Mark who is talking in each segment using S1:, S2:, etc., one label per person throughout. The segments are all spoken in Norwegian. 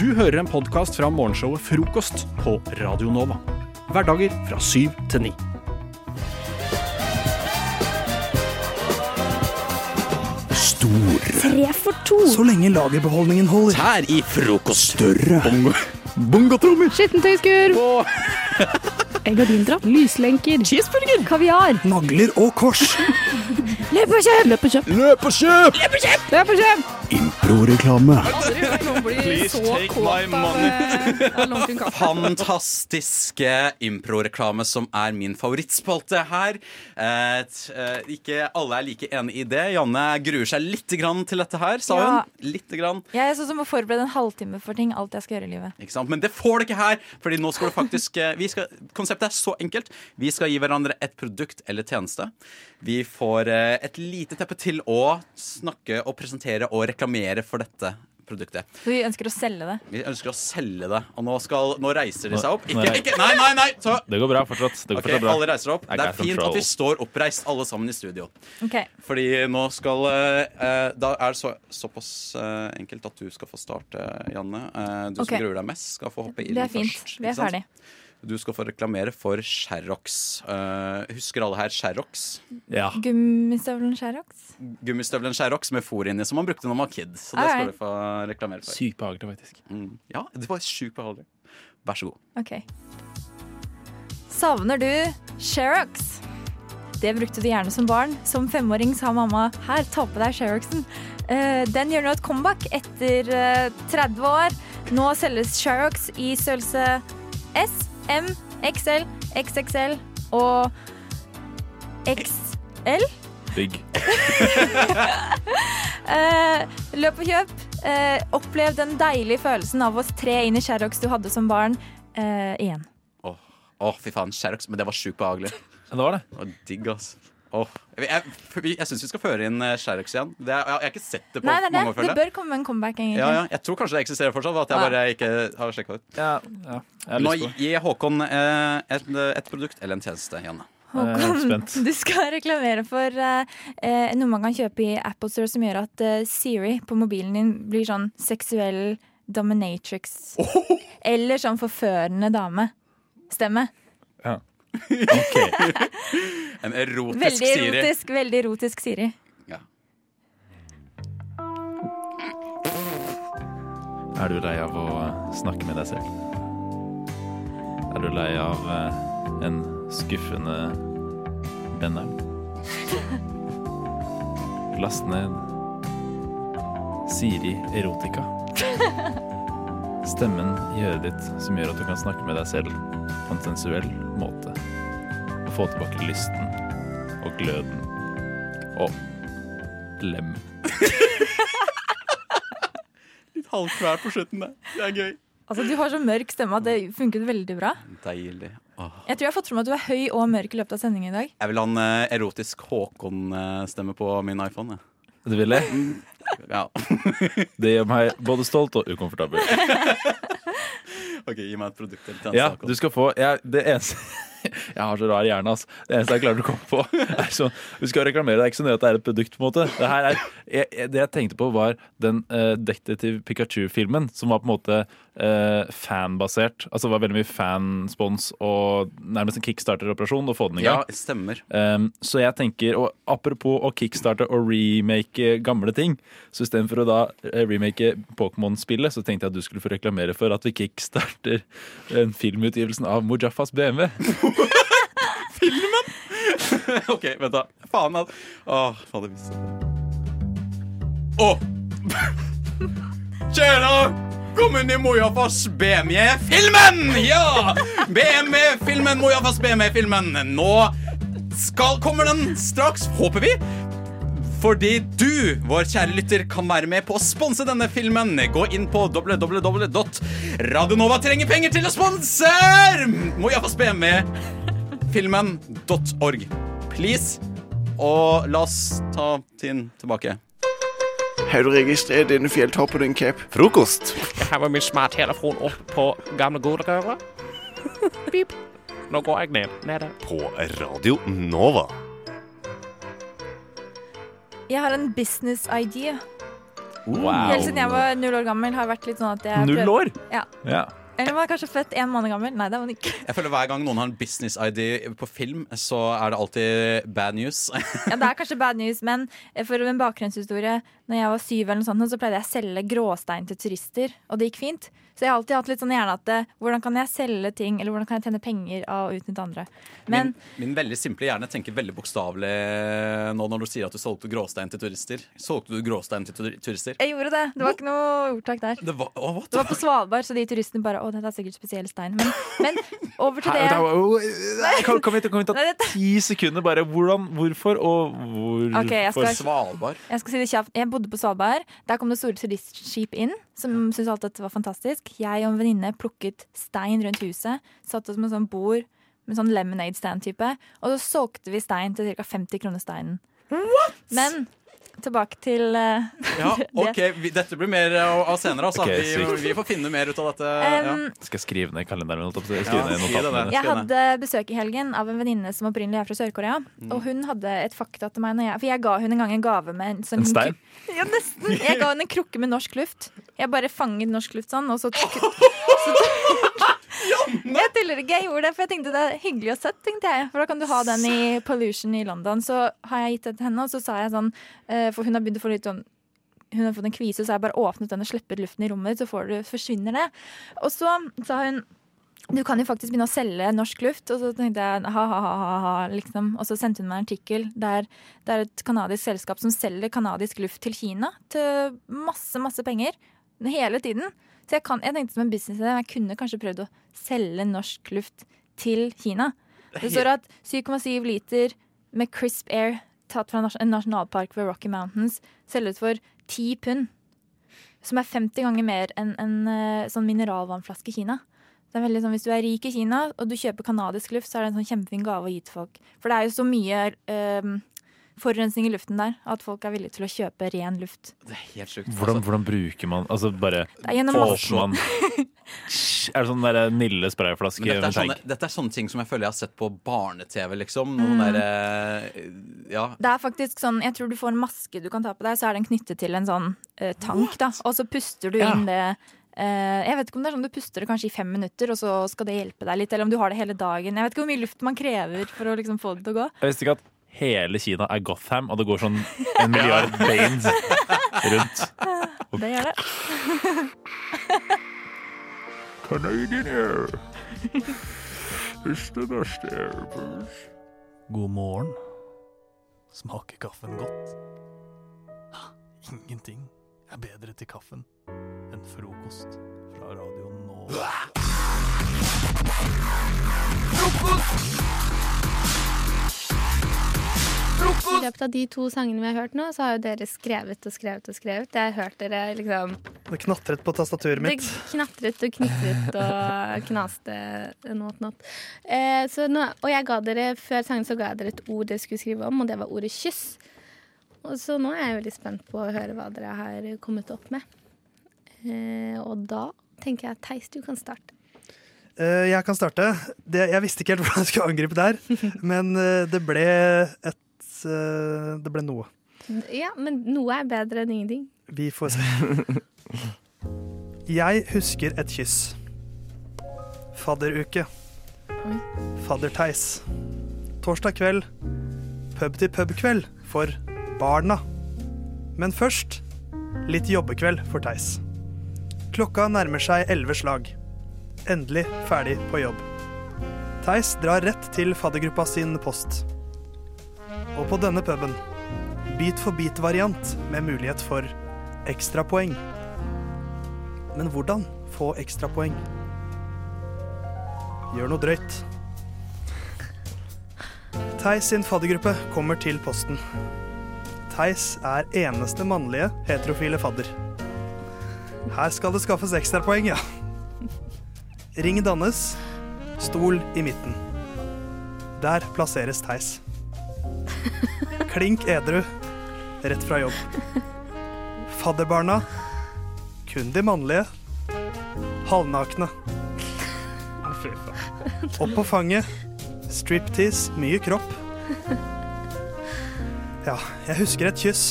S1: Du hører en podkast fra morgenshowet Frokost på Radio Nova. Hverdager fra syv til ni. Stor.
S2: Tre for to.
S3: Så lenge lagerbeholdningen holder.
S1: Her i frokost. Større. Bongotrommer.
S2: Skittentøyskur. Gardindrapp. Lyslenker.
S1: Cheeseburger.
S2: Kaviar.
S3: Nagler og kors.
S2: Løp og kjøp! Løp og kjøp!
S3: Løp og kjøp!
S2: Løp og kjøp!
S3: Improreklame.
S4: Please take my money. Fantastiske improreklame som er min favorittspalte her. Eh, t- eh, ikke alle er like enig i det. Janne gruer seg litt grann til dette her, sa
S5: Ja.
S4: hun. Litt grann.
S5: Jeg er sånn som må forberede en halvtime for ting. Alt jeg skal gjøre i livet.
S4: Ikke sant? Men det får du ikke her, Fordi nå skal du faktisk eh, vi skal, Konseptet er så enkelt. Vi skal gi hverandre et produkt eller tjeneste. Vi får eh, et lite teppe til å snakke og presentere og reklamere for dette produktet.
S5: Så vi ønsker å selge det.
S4: Vi ønsker å selge det. Og nå, skal, nå reiser de
S6: Nå-
S4: seg opp.
S6: nå
S4: Ikke,
S6: rei-
S4: ikke, nei, nei, nei! Ta.
S6: Det går bra fortsatt. Det går
S4: Ok,
S6: fortsatt bra.
S4: alle reiser opp.
S6: I
S4: Det er
S6: got
S4: fint at
S6: control.
S4: vi står oppreist alle sammen i studio.
S5: Ok,
S4: Fordi nå skal eh, eh, Da er det så, såpass eh, enkelt at du skal få starte, Janne. Eh, du
S5: Ok.
S4: som gruer deg mest, skal få hoppe inn
S5: Det er fint.
S4: først.
S5: Vi
S4: ikke
S5: er
S4: sant?
S5: ferdig.
S4: Du skal få reklamere for Sherrox. Eh, husker alle her Sherrox?
S6: Ja.
S5: Gummistøvelen Sherrox?
S4: Gummistøvelen Sherrox med fôr inni, som man brukte når man var kid. Så det skal du få reklamere for.
S6: Sykt behagelig, faktisk.
S4: Mm. Ja, det var sjukt behagelig. Vær så god.
S5: Ok. Savner du Sherrox? Det brukte du gjerne som barn. Som femåring sa mamma 'her, ta på deg Sherroxen'. Eh, den gjør nå et comeback etter eh, 30 år. Nå selges Sherrox i størrelse S, M, XL, XXL og XL.
S6: Digg.
S5: Eh, løp og kjøp. Eh, opplev den deilige følelsen av å tre inn i Sherrox du hadde som barn, eh, igjen.
S4: Åh, åh, fy faen, Sherrox. Men det var sjukt behagelig.
S6: Ja, det var det.
S4: Det var digg, ass. Åh. Jeg, jeg, jeg syns vi skal føre inn eh, Sherrox igjen. Det, er- jeg, jeg har ikke sett det på
S5: Nei, det er
S4: mange
S5: det.
S4: år.
S5: Det
S4: føler jeg.
S5: bør komme en comeback. egentlig.
S4: Ja, ja. Jeg tror kanskje det eksisterer fortsatt. At jeg
S5: Ja.
S4: bare ikke har sjekket ut
S6: Ja, ja. Jeg har
S4: Nå
S6: lyst på det.
S4: gir Håkon eh, et, et produkt eller en tjeneste, Janne.
S6: Eh, Jeg er spent.
S5: Du skal reklamere for eh, eh, noe man kan kjøpe i Apple Store som gjør at eh, Siri på mobilen din blir sånn seksuell dominatrix. Eller sånn forførende dame. Stemme.
S4: En erotisk
S5: Veldig
S4: Siri.
S5: erotisk, veldig erotisk Siri.
S4: Ja.
S6: Er du lei av å eh, snakke med deg selv? Er du lei av eh, en skuffende benderen? Last ned Siri Erotica. Stemmen i øret ditt som gjør at du kan snakke med deg selv på en sensuell måte. Og få tilbake lysten og gløden og lem.
S4: Litt halvkvær på slutten, det. Det er gøy.
S5: Altså, du har så mørk stemme at det funket veldig bra.
S4: Deilig. Åh.
S5: Jeg tror jeg har fått for meg at du er høy og mørk i løpet av sendingen i dag.
S4: Jeg vil ha en eh, erotisk Håkon-stemme på min iPhone. Jeg.
S6: Du ville?
S4: Ja.
S6: Det gjør meg både stolt og ukomfortabel.
S4: OK, gi meg et produkt eller tjeneste.
S6: Ja,
S4: Håkon.
S6: du skal få jeg, Det eneste Jeg har så rar hjerne, altså. Det eneste jeg klarer å komme på, er sånn Du skal reklamere, det er ikke så nøye at det er et produkt, på en måte. Det, her er, jeg, jeg, det jeg tenkte på, var den uh, Detektiv Pikachu-filmen, som var på en måte eh, fanbasert. Altså det var veldig mye fanspons og nærmest en kickstarter-operasjon å få den i
S4: ja,
S6: gang.
S4: stemmer.
S6: Um, så jeg tenker, og apropos å kickstarte og remake gamle ting, så istedenfor å da eh, remake Pokémon-spillet, så tenkte jeg at du skulle få reklamere for at vi kickstarter en filmutgivelsen av Mujaffas BMW.
S4: OK, vent, da. Faen, altså. Åh, fader visste Å! Tjena! Kom inn i Mojafass BME-filmen! Ja! BME-filmen, Mojafass BME-filmen. Nå skal, kommer den straks, håper vi. Fordi du, vår kjære lytter, kan være med på å sponse denne filmen. Gå inn på www.radionova trenger penger til å sponse Mojafass BME-filmen.org. Please. Og la oss ta tiden tilbake.
S7: Har du registrert denne fjelltoppen din, Cap?
S8: Frokost.
S9: Jeg hever min smarttelefon opp på gamle godrøret. Pip. Nå går jeg ned. Nede.
S8: På Radio Nova.
S5: Jeg har en business idea. Helt siden jeg var null år gammel har jeg vært litt sånn at jeg
S6: Null år?
S5: Ja.
S6: Ja.
S5: Eller var jeg kanskje født en måned gammel. Nei, det var den ikke.
S4: Jeg føler Hver gang noen har en business idea på film, så er det alltid bad news.
S5: Ja, det er kanskje bad news, men eh, for en bakgrunnshistorie Når jeg var syv, eller noe sånt, så pleide jeg å selge gråstein til turister, og det gikk fint. Så jeg har alltid hatt litt sånn i hjernen at eh, hvordan kan jeg selge ting, eller hvordan kan jeg tjene penger av å utnytte andre. Men
S4: min, min veldig simple hjerne tenker veldig bokstavelig nå når du sier at du solgte gråstein til turister. Solgte du gråstein til tur- turister?
S5: jeg gjorde det. Det var ikke noe ordtak der.
S4: Det var, å, what?
S5: Det var på Svalbard, så de turistene bare Å, dette er sikkert spesiell stein. Men, men over til det
S6: Her- her- Kan, kan, vi, ta- kan vi ta
S5: Nei, dette-
S6: ti sekunder bare hvordan, hvorfor og hvorfor?
S5: Ok, jeg skal-
S4: Svalbard.
S5: Jeg skal si det kjapt. Jeg bodde på Svalbard. Der kom det store turistskip inn, som syntes alt dette var fantastisk. Jeg og en venninne plukket stein rundt huset, satte oss med sånn bord med sånn lemonade stand-type, og så solgte vi stein til ca. 50 kroner steinen. Men tilbake til eh,
S4: Ja, ok, vi, Dette blir mer av av senere. Altså.
S6: Ok,
S4: vi,
S6: sykt.
S4: vi får finne mer ut av dette. ja.
S5: em,
S6: Skal jeg skrive ned i kalenderen min? holdt jeg på å
S4: Ja,
S6: si? Skrive ned i
S4: skriv det
S6: notatene
S4: der.
S6: mine.
S5: Mm. Jeg hadde besøk i helgen av en venninne som opprinnelig er fra Sør-Korea.
S6: Mm.
S5: Og hun hadde et fakta til meg. Når jeg, for jeg ga hun en gang en gave med en, sånn-
S6: En stein?
S5: Ja, nesten. Jeg ga henne en krukke med norsk luft. Jeg bare fanget norsk luft sånn, og så tok så Jeg tuller ikke, jeg gjorde det, for jeg tenkte det er hyggelig og søtt, tenkte jeg. For da kan du ha den i Pollution i London. Så har jeg gitt det til henne, og så sa jeg sånn eh, For hun har begynt å få litt sånn hun har fått en kvise, så har jeg bare åpnet den og sluppet luften i rommet, så får du, forsvinner det. Og så sa hun du kan jo faktisk begynne å selge norsk luft. Og så tenkte jeg ha-ha-ha. Liksom. Og så sendte hun meg en artikkel der det er et kanadisk selskap som selger kanadisk luft til Kina til masse, masse penger. Hele tiden. Så jeg, kan, jeg tenkte som en business jeg kunne kanskje prøvd å selge norsk luft til Kina. Det står at 7,7 liter med crisp air tatt fra nas- en nasjonalpark ved Rocky Mountains selges for 10 pund. Som er 50 ganger mer enn en eh, sånn mineralvannflaske i Kina. Det er veldig sånn, Hvis du er rik i Kina og du kjøper kanadisk luft, så er det en sånn kjempefin gave å gi til folk. For det er jo så mye øhm, forurensning i luften der at folk er villige til å kjøpe ren luft.
S4: Det er helt sjukt.
S6: Hvordan, hvordan bruker man Altså bare
S5: Det er gjennom masse
S6: åpner man Er det sånn der Nille sprayflaske
S4: Men dette,
S6: med
S4: er sånne,
S6: tank?
S4: dette er sånne ting som jeg føler jeg har sett på barne-TV, liksom. Noen der, eh, ja.
S5: Det er faktisk sånn, Jeg tror du får en maske du kan ta på deg, så er den knyttet til en sånn eh, tank. da, Og så puster du inn det eh, Jeg vet ikke om det er sånn du puster det kanskje i fem minutter, og så skal det hjelpe deg litt. Eller om du har det hele dagen. Jeg vet ikke hvor mye luft man krever for å liksom få det til å gå.
S6: Jeg visste ikke at hele Kina er Gotham, og det går sånn en milliard banes rundt.
S5: Det gjør det.
S3: God morgen. Smaker kaffen godt? Ingenting er bedre til kaffen enn frokost fra Radio Nova.
S10: I løpet av de to sangene vi har hørt nå, så har jo dere skrevet og skrevet og skrevet. Jeg har hørt dere liksom
S3: Det knatret på tastaturet
S10: Det
S3: mitt.
S10: knatret og knitret og knaste and what not. Eh, så nå, og jeg ga dere, før sangen så ga jeg dere et ord dere skulle skrive om, og det var ordet kyss. Og så nå er jeg veldig spent på å høre hva dere har kommet opp med. Eh, og da tenker jeg Theis, du kan starte.
S3: Eh, Jeg kan starte. Det, jeg visste ikke helt hvordan jeg skulle angripe der, men eh, det ble et eh, Det ble noe.
S10: Ja, men noe er bedre enn ingenting.
S3: Vi får se. Jeg husker et kyss. Fadderuke. Faddertheis. Torsdag kveld. Pub til pub-kveld for barna. Men først litt jobbekveld for Theis. Klokka nærmer seg elleve slag. Endelig ferdig på jobb. Theis drar rett til faddergruppa sin post. Og på denne puben bit for bit-variant med mulighet for ekstrapoeng. Men hvordan få ekstrapoeng? Gjør noe drøyt. Theis sin faddergruppe kommer til posten. Theis er eneste mannlige heterofile fadder. Her skal det skaffes ekstrapoeng, ja. Ring dannes, stol i midten. Der plasseres Theis. Klink edru, rett fra jobb. Fadderbarna, kun de mannlige, halvnakne. Opp på fanget, striptease, mye kropp. Ja, jeg husker et kyss,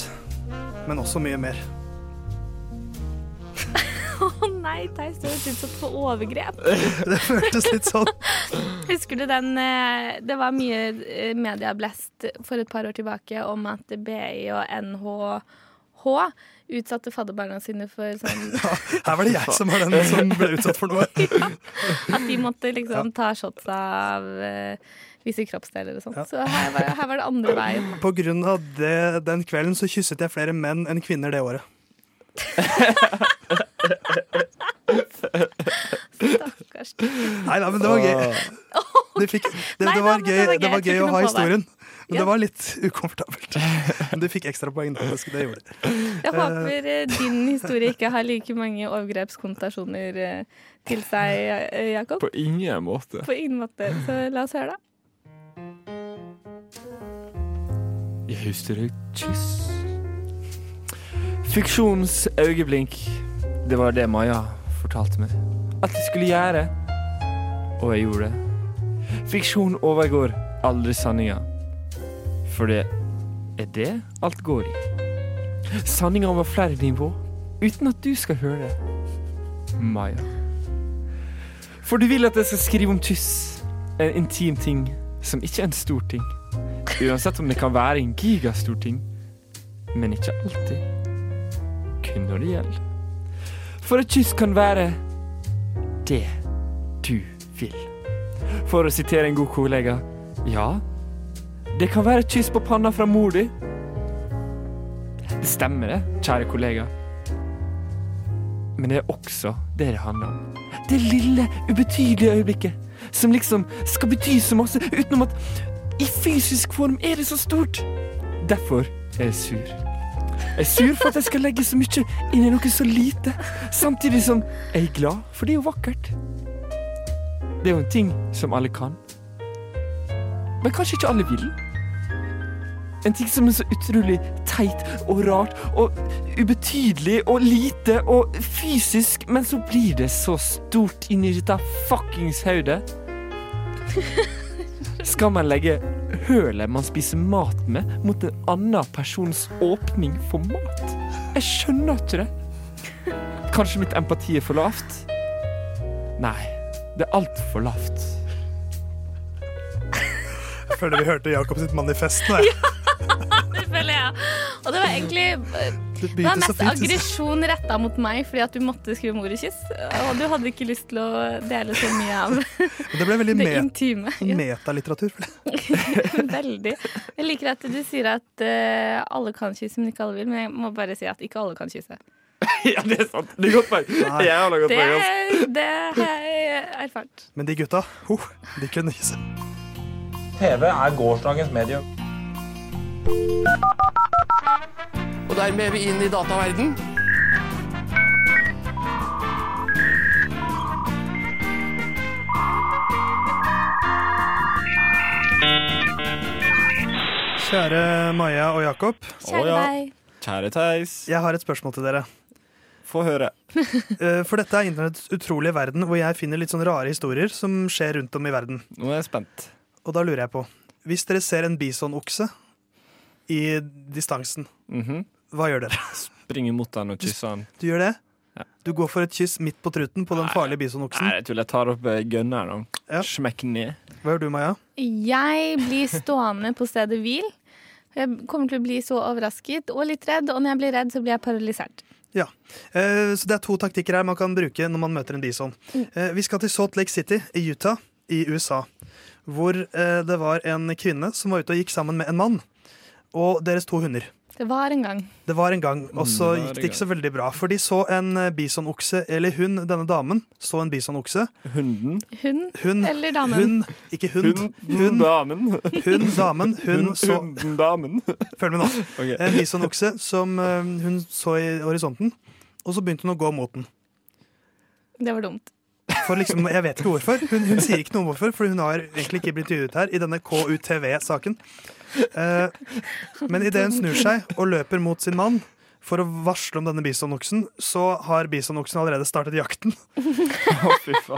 S3: men også mye mer.
S10: nei, Theis, du har vært utsatt for overgrep.
S3: Det føltes litt sånn.
S10: Husker du den eh, Det var mye eh, medieblest for et par år tilbake om at BI og NHH utsatte fadderbarna sine for sånn
S3: Her var det jeg som var den som ble utsatt for noe.
S10: At de måtte liksom ta shots av eh, visse kroppsdeler og sånn. Så her var, her var det andre veien.
S3: På grunn av det, den kvelden så kysset jeg flere menn enn kvinner det året.
S10: Stakkars.
S3: Nei da, men det var gøy. Det, fikk, det, det,
S10: Nei da,
S3: var
S10: men det
S3: gøy,
S10: var gøy.
S3: det var
S10: Jeg tok
S3: gøy å
S10: den
S3: ha
S10: på deg.
S3: historien. Men
S10: Ja.
S3: det var litt ukomfortabelt. Men du fikk ekstrapoeng. da, Det det gjorde det.
S10: Jeg håper eh, din historie ikke har like mange overgrepskonnotasjoner eh, til seg, eh, Jakob.
S11: På ingen måte.
S10: På ingen måte. Så la oss høre, da.
S11: Jeg husker et kyss. Fiksjonens øyeblink. Det var det Maja fortalte meg at jeg skulle gjøre. Og jeg gjorde det. Fiksjon overgår aldri sanninga. For det er det alt går i. Sanninga over flere nivå, uten at du skal høre det. Maja. For du vil at jeg skal skrive om kyss. En intim ting som ikke er en stor ting. Uansett om det kan være en gigastor ting, men ikke alltid. Kun når det gjelder. For et kyss kan være det du vil. For å sitere en god kollega ja, det kan være et kyss på panna fra mor di. Det stemmer det, kjære kollega. Men det er også det det handler om. Det lille, ubetydelige øyeblikket som liksom skal bety så masse utenom at i fysisk form er det så stort. Derfor er jeg sur. Jeg er sur for at jeg skal legge så mye inn i noe så lite, samtidig som jeg er glad, for det er jo vakkert. Det er jo en ting som alle kan, men kanskje ikke alle vil. En ting som er så utrolig teit og rart og ubetydelig og lite og fysisk, men så blir det så stort inni dette fuckings hodet. Skal man legge hølet man spiser mat med, mot en annen persons åpning for mat? Jeg skjønner ikke det. Kanskje mitt empati er for lavt? Nei, det er altfor lavt.
S3: Jeg føler vi hørte Jakob sitt manifest nå. jeg.
S10: Det føler jeg. Og det var egentlig eh,
S3: Det
S10: Det var
S3: begynte så
S10: mest
S3: fint.
S10: aggresjon retta mot meg fordi at du måtte skrive om ordet kyss. Og du hadde ikke lyst til å dele så mye av
S3: Men Det ble veldig
S10: det
S3: me-
S10: intime.
S3: metalitteratur. føler jeg.
S10: Veldig. Jeg liker at du sier at eh, alle kan kysse, men ikke alle vil. Men jeg må bare si at ikke alle kan kysse.
S11: Ja, det er sant. Det er godt poeng.
S3: Nei.
S11: Jeg har laget
S10: Det,
S11: poeng. altså. ass.
S10: det har jeg erfart.
S3: Men de gutta, ho, de kunne kysse.
S9: TV er gårsdagens medium.
S12: Og dermed er vi inn i dataverden.
S3: Kjære Maja og Jakob,
S10: Kjære
S9: ja.
S10: deg.
S9: Kjære Theis,
S3: jeg har et spørsmål til dere.
S9: få høre.
S3: Eh, For dette er internetts utrolige verden, hvor jeg finner litt sånn rare historier som skjer rundt om i verden.
S9: Nå er jeg spent.
S3: Og da lurer jeg på, hvis dere ser en bisonokse i distansen,
S11: Mhm.
S3: hva gjør dere?
S11: Springe mot han og kysse han.
S3: Du gjør det? Du går for et kyss midt på truten på den farlige
S11: Nei,
S3: bisonoksen.
S11: jeg tuller. Jeg tar opp eh, gunneren.
S3: Ja.
S11: og Smekk ned.
S3: Hva gjør du, Maja?
S10: Jeg blir stående på stedet hvil. Jeg kommer til å bli så overrasket og litt redd, og når jeg blir redd, så blir jeg paralysert.
S3: Eh, Så det er to taktikker her man kan bruke når man møter en bison. Eh, Vi skal til Salt Lake City i Utah i USA, hvor eh, det var en kvinne som var ute og gikk sammen med en mann og deres to hunder.
S10: Det var en gang.
S3: Det var en gang, og så
S11: Mm, det var
S3: gikk
S11: en
S3: det ikke så veldig bra. For de så en eh, bisonokse, eller hun, denne damen, så en bisonokse.
S11: Hunden.
S10: Hun
S3: Hun,
S10: eller damen.
S3: hun, ikke hund,
S11: Hunden. Damen.
S3: hun, damen, hun så
S11: Hunden. Damen.
S3: Følg med nå. Eh,
S11: Ok.
S3: En bisonokse som eh, hun så i horisonten, og så begynte hun å gå mot den.
S10: Det var dumt.
S3: For liksom, jeg vet ikke hvorfor. Hun, hun sier ikke noe om hvorfor, for hun har egentlig ikke blitt intervjuet her i denne KUTV-saken. Eh, men idet hun snur seg og løper mot sin mann for å varsle om denne bisonoksen, så har bisonoksen allerede startet jakten.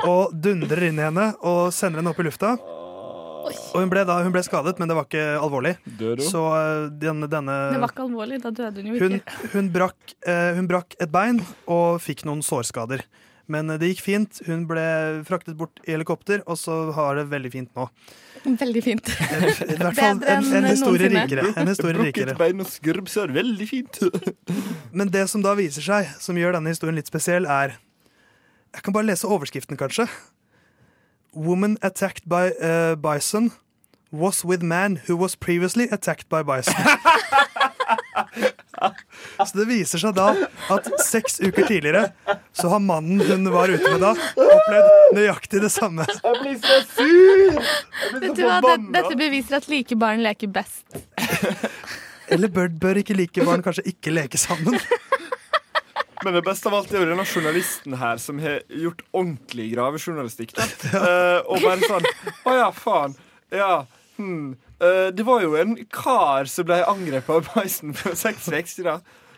S3: og dundrer inn i henne og sender henne opp i lufta. Og hun ble, da, hun ble skadet, men det var ikke alvorlig.
S11: Dør du?
S3: Så eh, denne, denne
S10: Det var ikke alvorlig. Da døde hun jo
S3: hun,
S10: ikke.
S3: hun, brakk, eh, hun brakk et bein og fikk noen sårskader. Men eh, det gikk fint. Hun ble fraktet bort i helikopter, og så har det veldig fint nå.
S10: Veldig fint.
S3: I hvert fall en, en historie rikere. En historie
S13: Brukket
S3: rikere.
S13: bein og skrubb ser veldig fint ut.
S3: Men det som da viser seg, som gjør denne historien litt spesiell, er Jeg kan bare lese overskriften, kanskje. Woman attacked by eh, bison was with man who was previously attacked by bison. Så det viser seg da at seks uker tidligere så har mannen hun var ute med da, opplevd nøyaktig det samme.
S13: Jeg blir så sur!
S10: Vet du hva, det, Dette beviser at like barn leker best.
S3: Eller bør, bør ikke like barn kanskje ikke leke sammen?
S13: Men det beste av alt er jo denne journalisten her som har gjort ordentlig gravejournalistikk. Da. Eh, og bare sånn Å ja, faen. Ja. Hm. Eh, det var jo en kar som ble angrepet av beisen for seks uker da.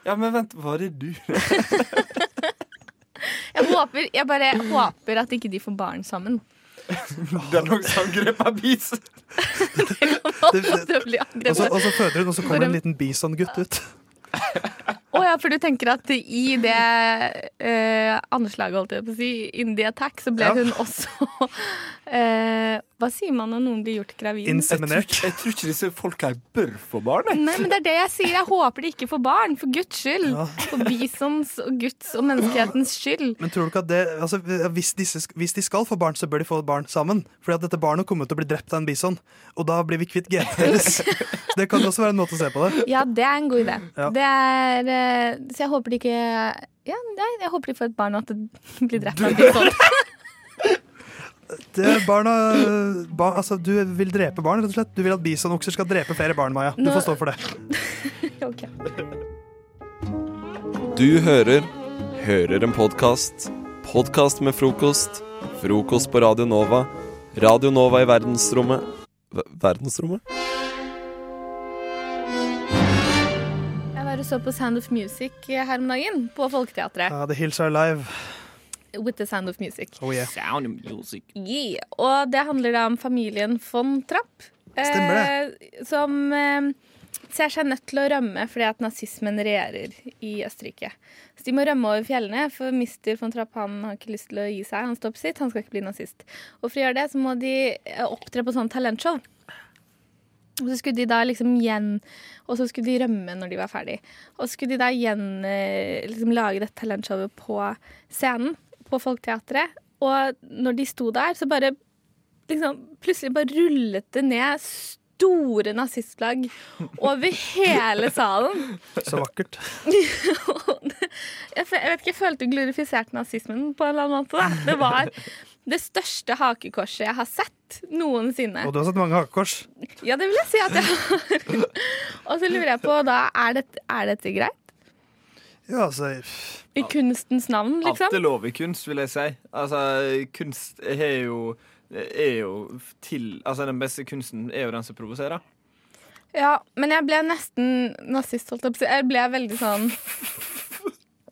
S13: Ja, men vent, var det du?
S10: Jeg håper, jeg bare håper at ikke de får barn sammen.
S13: Den også angrep sånn av bis.
S10: Det, blir
S3: Og så, og så
S10: angrepet.
S3: føder hun, og så kommer det en liten bison-gutt ut.
S10: Å ja, for du tenker at i det eh, anslaget, holdt jeg på å si, in the attack, så ble
S3: Ja.
S10: hun også eh, Hva sier man når noen blir gjort gravid?
S13: Jeg tror, jeg tror ikke disse folka her bør få barn. jeg.
S10: Nei, men det er det jeg sier. Jeg håper de ikke får barn, for Guds skyld. For bisons og Guds og menneskehetens skyld.
S3: Men tror du ikke at det, altså, hvis, disse, sk- hvis de skal få barn, så bør de få barn sammen. Fordi at dette barnet kommer til å bli drept av en bison, og da blir vi kvitt genene deres. Så det kan også være en måte å se på det.
S10: Ja, det er en god idé.
S3: Ja.
S10: Det er, eh, så jeg håper de ikke ja, nei, Jeg håper de får et barn og at det sånn. blir drept av en bison.
S3: det barna, ba, altså, du vil drepe barn, rett og slett. Du vil at bisonokser skal drepe flere barn, Maja. Du
S10: Nå-
S3: får stå for det.
S14: Du hører Hører en podkast. Podkast med frokost. Frokost på Radio Nova. Radio Nova i verdensrommet Ver- Verdensrommet?
S10: Jeg var og så på Sound of Music eh, her om dagen, på Folketeatret.
S3: Ja, the hills are alive.
S10: With the Sound of Music.
S3: Oh, yeah.
S11: Sound of music.
S10: Yeah. Og det handler da om familien von Trapp.
S11: Stemmer
S10: Eh, som eh, ser seg nødt til å rømme fordi at nazismen regjerer i Østerrike. Så de må rømme over fjellene, for mister von Trapp han har ikke lyst til å gi seg. Han står på sitt, han skal ikke bli nazist. Og for å gjøre det så må de eh, opptre på sånn talentshow. Og så skulle de da liksom igjen Og så skulle de rømme når de var ferdig. Og så skulle de da igjen eh, liksom lage dette talentshowet på scenen på Folketeatret. Og når de sto der, så bare liksom Plutselig bare rullet det ned store nazistflagg over hele salen.
S3: Så vakkert.
S10: Jeg, fe- jeg vet ikke, jeg følte du glorifiserte nazismen på en eller annen måte. Da. Det var det største hakekorset jeg har sett noensinne.
S3: Og du har sett mange hakekors.
S10: Ja, det vil jeg si at jeg har. Og så lurer jeg på, da, er dette, er dette greit?
S3: Ja, altså
S10: I kunstens navn,
S13: Alt er
S10: liksom?
S13: lov i kunst, vil jeg si. Altså, kunst er jo, er jo til Altså, den beste kunsten er jo den som provoserer.
S10: Ja, men jeg ble nesten nazist, holdt jeg på å si. Jeg ble veldig sånn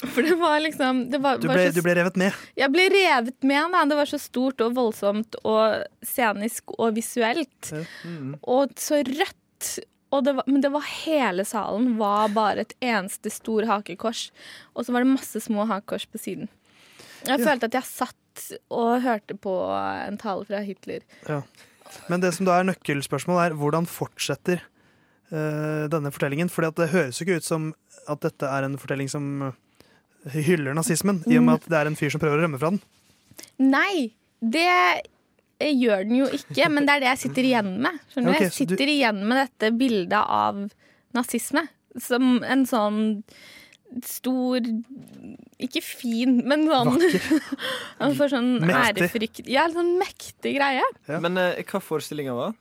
S10: For det var liksom det var,
S3: Du
S10: var
S3: ble,
S10: så-
S3: du ble revet med.
S10: Jeg ble revet med, da. Det var så stort og voldsomt og scenisk og visuelt.
S15: Mm.
S10: Og så rødt. Og det var, men det var hele salen var bare et eneste stor hakekors. Og så var det masse små hakekors på siden. Jeg følte at jeg satt og hørte på en tale fra Hitler.
S3: Ja. Men det som da er nøkkelspørsmålet, er hvordan fortsetter eh, denne fortellingen? Fordi at det høres jo ikke ut som at dette er en fortelling som eh, hyller nazismen, i og med at det er en fyr som prøver å rømme fra den.
S10: Nei, det eh, gjør den jo ikke, men det er det jeg sitter igjen med. Skjønner du?
S3: Ok, så
S10: Jeg
S3: du-
S10: sitter igjen med dette bildet av nazisme som en sånn stor Ikke fin, men sånn Han får sånn
S13: Mektig.
S10: ærefrykt Ja, en sånn mektig greie.
S13: Men eh, hva forestillinga var?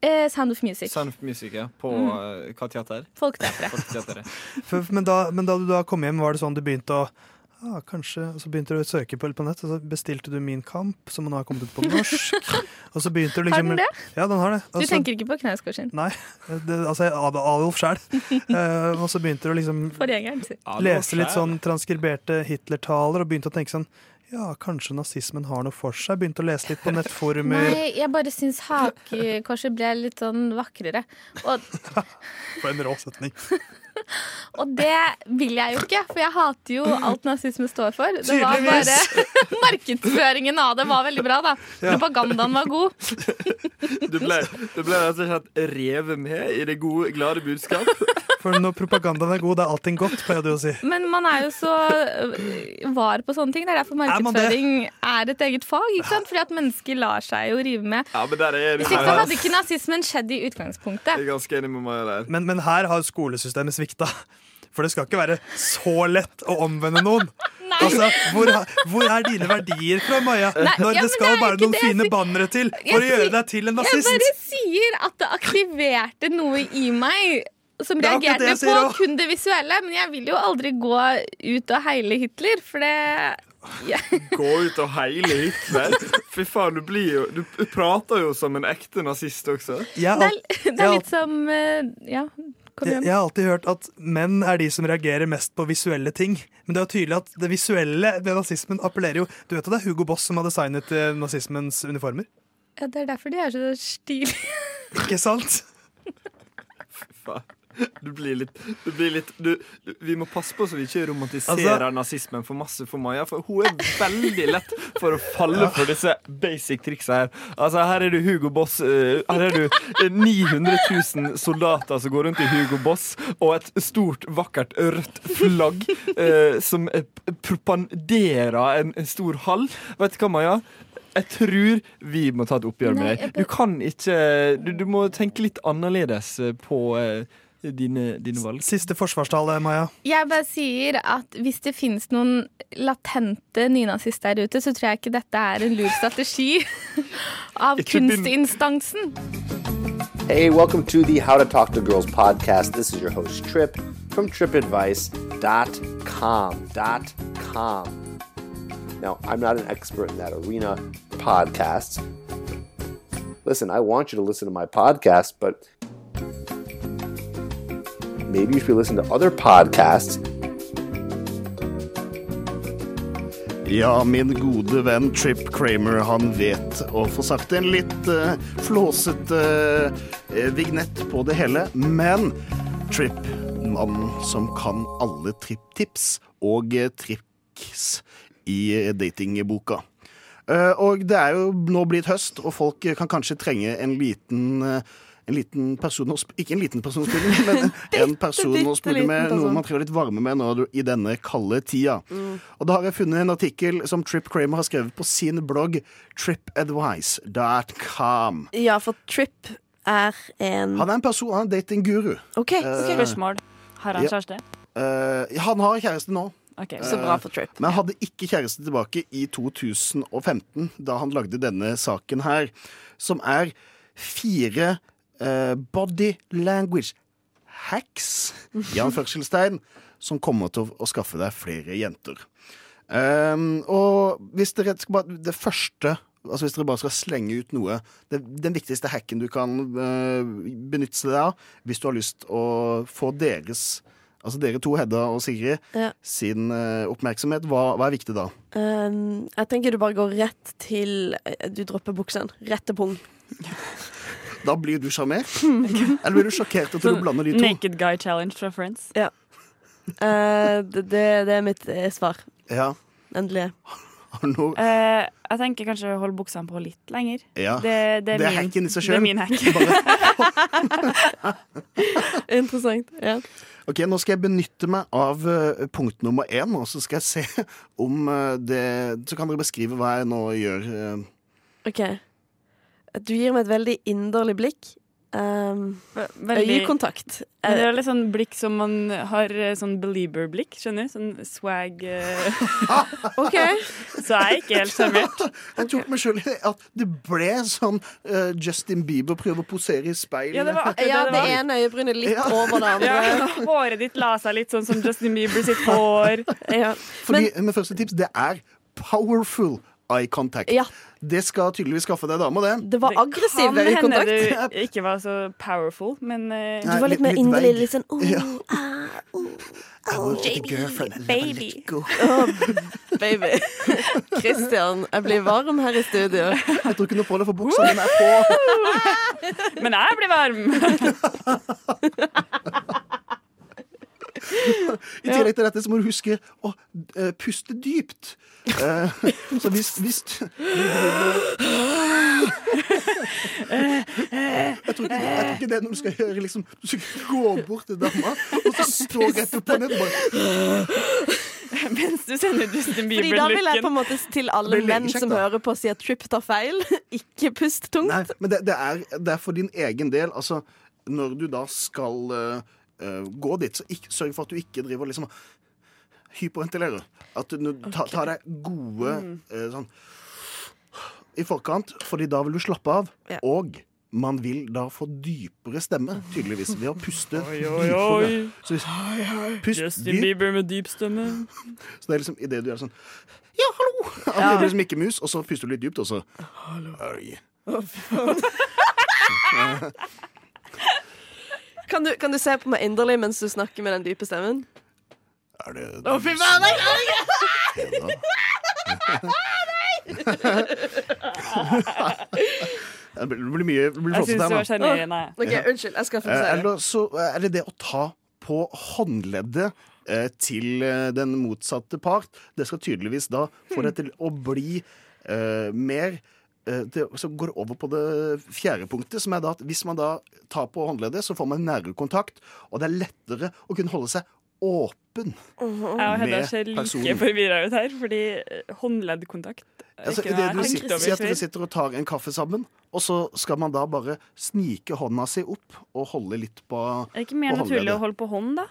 S10: Eh, Sound of Music.
S13: Sound of Music, Sånn ja. På
S10: Mm.
S13: eh, hva teater?
S10: Folketeatret.
S13: Folketeatret.
S3: For, men, da, men da du da kom hjem, var det sånn du begynte å ah, kanskje, og Så begynte du å søke på, på nett, og så bestilte du Min kamp, som nå har kommet ut på norsk. Og så begynte du
S10: Har
S3: liksom
S10: den det?
S3: Ja, den har det.
S10: Du
S3: Og så-
S10: tenker ikke på
S3: altså-
S10: knausgårdsen?
S3: Nei. Det, altså, jeg- Ad- Adolf sjæl. Eh, og så begynte du å liksom
S10: Forgjengeren sin.
S3: leste litt sånn transkriberte Hitler-taler og begynte å tenke sånn Ja, kanskje nazismen har noe for seg. Begynte å lese litt på nettforumer.
S10: Nei, jeg bare syns hakekorset ble litt sånn vakrere. Og,
S3: For en rå setning.
S10: og det vil jeg jo ikke, for jeg hater jo alt nazisme står for. Det var bare Markedsføringen av det var veldig bra, da.
S13: Ja.
S10: Propagandaen var god.
S13: Du ble, du ble rett og slett revet med i det gode, glade budskap.
S3: For når propagandaen er god, det er allting godt, pleier du å si.
S10: Men man er jo så øh, var på sånne ting. Det er
S3: Er
S10: derfor
S3: man det?
S10: markedsføring er et eget fag. Ikke sant? Fordi at mennesker lar seg jo rive med.
S13: Ja, men der er du
S10: Hvis ikke så hadde ikke nazismen skjedd i utgangspunktet.
S13: ganske enig med Maja der.
S3: Men, men her har skolesystemet svikta. For det skal ikke være så lett å omvende noen. Altså, hvor, hvor er dine verdier fra, Maja?
S10: Nei,
S3: Når
S10: ja, men
S3: det skal
S10: det er
S3: bare
S10: ikke
S3: noen
S10: det jeg
S3: fine
S10: sier.
S3: bannere til
S10: Jeg
S3: for å gjøre
S10: sier-
S3: deg til en
S10: Jeg bare
S3: nazist.
S10: sier at det aktiverte noe i meg som
S3: Det er akkurat det
S10: reagerte
S3: jeg
S10: på
S3: sier også.
S10: kun det visuelle. Men jeg vil jo aldri gå ut og heile Hitler, for det
S13: Gå ut og heile Hitler. Fy faen, du blir jo Du prater jo som en ekte nazist også.
S3: Jeg, har-
S10: Det
S3: Ja.
S10: er litt som eh, Ja, kom
S3: jeg,
S10: igjen.
S3: jeg har alltid hørt at menn er de som reagerer mest på visuelle ting. Men det er jo tydelig at det visuelle ved nazismen appellerer jo Du vet at det er Hugo Boss som har designet eh, nazismens uniformer?
S10: Ja, det er derfor de er så stilige.
S3: Ikke sant?
S13: Faen. Du blir litt, du blir litt du, du, Vi må passe på så vi ikke romantiserer
S3: Altså-
S13: nazismen for masse for Maja, for hun er veldig lett for å falle for disse basic triksa her. Altså, her er du Hugo Boss eh, Her er du eh, 900 000 soldater som går rundt i Hugo Boss, og et stort, vakkert rødt flagg eh, som eh, propanderer en, en stor hall. Vet du hva, Maja? Jeg tror vi må ta et oppgjør
S10: Nei,
S13: med
S10: jeg
S13: deg. Du kan ikke Du, du må tenke litt annerledes eh, på eh, dine, dine valg.
S3: Siste forsvarstale, Maja.
S10: Jeg bare sier at hvis det finnes noen latente nynazister der ute, så tror jeg ikke dette er en lur strategi av
S16: Ikke begynn-
S10: kunstinstansen.
S16: Hey, welcome to the How to Talk to Girls podcast. This is your host, Trip, from tripadvice.com. Dot com. Now, I'm not an expert in that arena, podcasts. Listen, I want you to listen to my podcast, but maybe you should be listening to other podcasts.
S17: Ja, min gode venn Trip Kramer, han vet å få sagt en litt eh, flåsete eh, vignett på det hele. Men Trip, mannen som kan alle tripp-tips og eh, triks i eh, datingboka. Eh, og det er jo nå blitt høst, og folk eh, kan kanskje trenge en liten eh, en liten person å sp Ikke en liten person å spille med, men en person å spille
S18: liten
S17: med noe
S18: person.
S17: man trenger litt varme med nå i denne kalde tida. Og da har jeg funnet en artikkel som Trip Kramer har skrevet på sin blogg tripadvice.com.
S15: Ja, for Trip er en
S17: Han er en person, han er en datingguru.
S15: OK,
S17: Eh,
S15: spørsmål. Har han
S17: ja.
S15: kjæreste?
S17: Eh, han har kjæreste nå.
S15: Ok, Så bra for Trip.
S17: Eh, Men hadde ikke kjæreste tilbake i 2015, da han lagde denne saken her, som er fire eh, body language hacks i anførselstegn, som kommer til å, å skaffe deg flere jenter. Ehm, og hvis dere skal bare Det første Altså Hvis dere bare skal slenge ut noe det, Den viktigste hacken du kan eh, benytte deg av hvis du har lyst å få deres Altså dere to, Hedda og Sigrid,
S15: Ja.
S17: sin eh, oppmerksomhet, hva, hva er viktig da?
S15: Um, jeg tenker du bare går rett til eh, Du dropper buksen. Rett til pung.
S17: Da blir du sjarmert? Eller blir du sjokkert at du blander de to?
S15: Naked guy challenge fra Friends. Ja. Eh, det, det, det er mitt eh, svar.
S17: Ja.
S15: Endelig.
S17: Har du noe
S15: Eh, jeg tenker kanskje holde buksene på litt lenger.
S17: Ja.
S15: Det, det, er
S17: Det er
S15: min,
S17: hacken i seg
S15: Det
S17: selv.
S15: er min hack. Interessant. Ja.
S17: Ok, Nå skal jeg benytte meg av eh, punkt nummer én, og så skal jeg se om eh, det Så kan dere beskrive hva jeg nå gjør. eh.
S15: OK. Du gir meg et veldig inderlig blikk. Um,
S19: veldig-
S15: Øyekontakt.
S19: Men det er litt sånn blikk som man har eh, sånn belieber-blikk, skjønner du? Sånn swag eh. Så jeg er ikke helt sjarmert.
S17: Jeg tok meg sjøl i at det ble sånn eh, Justin Bieber prøver å posere i speilet.
S19: Ja, det var akkurat
S15: Ja,
S19: det
S15: det
S19: var.
S15: ene øyebrynet litt
S19: Ja.
S15: over det andre.
S19: Ja, håret ditt la seg litt sånn som Justin Bieber sitt hår.
S17: Fordi, men, første tips, det er powerful eye contact. Det skal tydeligvis skaffe deg dame, det.
S15: Det var aggressiv øyekontakt.
S19: Kan hende du ikke var så powerful, men eh,
S15: Du var litt mer inderlig. Litt sånn oh,
S17: I want a Oh, girlfriend.
S15: baby.
S17: Go.
S15: Åh, baby. Christian, jeg blir varm her i studio.
S17: Jeg tror ikke noe på det, for buksa dine er på.
S19: Men jeg blir varm.
S17: I tillegg til dette så må du huske å eh, puste dypt. Eh, så hvis, hvis jeg tror, ikke, jeg tror ikke det er noe du skal gjøre. Liksom, du skal ikke gå bort til dama og så stå rett opp og ned. og Bare,
S19: Mens du sender Justin
S15: Fordi da vil jeg på en
S19: Bieber-looken.
S15: måte til alle
S17: Det blir
S15: menn
S17: legekjekt,
S15: som
S17: da.
S15: hører på, si at Tripp tar feil. Ikke pust tungt.
S17: nei, men det, det, er, det er for din egen del. Altså, når du da skal eh, eh, gå dit, så ikke, sørg for at du ikke driver og liksom hyperventilerer. At du tar ta deg gode
S15: Mm.
S17: eh, sånn i forkant, fordi da vil du slappe av. Og man vil da få dypere stemme, tydeligere, ved å puste
S19: Oi, oi,
S17: dypere.
S19: oi.
S17: Så hvis, pust
S19: Justin
S17: dypt,
S19: Bieber med dyp stemme.
S17: så det er liksom idet du er sånn Ja, hallo! Ja. Det blir liksom ikke mus, og så puster du litt dypt, og så Oi.
S15: Kan du, kan du se på meg inderlig mens du snakker med den dype stemmen?
S17: Er det
S15: Å, fy faen! jeg klarer ikke!
S17: Det blir det blir mye det blir
S19: Jeg synes
S17: flåsete her
S19: det var
S17: nå.
S19: sjenerende.
S15: Ok,
S17: Ja.
S15: Unnskyld, jeg skal
S17: Eh,
S15: fokusere.
S17: Eller så eh, er det det å ta på håndleddet eh, til eh, den motsatte part. Det skal tydeligvis da få det til å bli eh, mer eh, det, Så går det over på det fjerde punktet, som er da at hvis man da tar på håndleddet, så får man nærere kontakt, og det er lettere å kunne holde seg åpen.
S19: Jeg og Hedda
S17: Med
S19: ser like
S17: personen.
S19: forvirra ut her, fordi eh, håndleddkontakt er
S17: Altså,
S19: ikke
S17: i
S19: noe jeg
S17: det
S19: har
S17: du
S19: tenkt
S17: sitter,
S19: over
S17: si at
S19: før.
S17: dere sitter og tar en kaffe sammen, og så skal man da bare snike hånda si opp og holde litt på
S19: Er det ikke mer
S17: på håndleddet.
S19: naturlig å holde på hånd, da?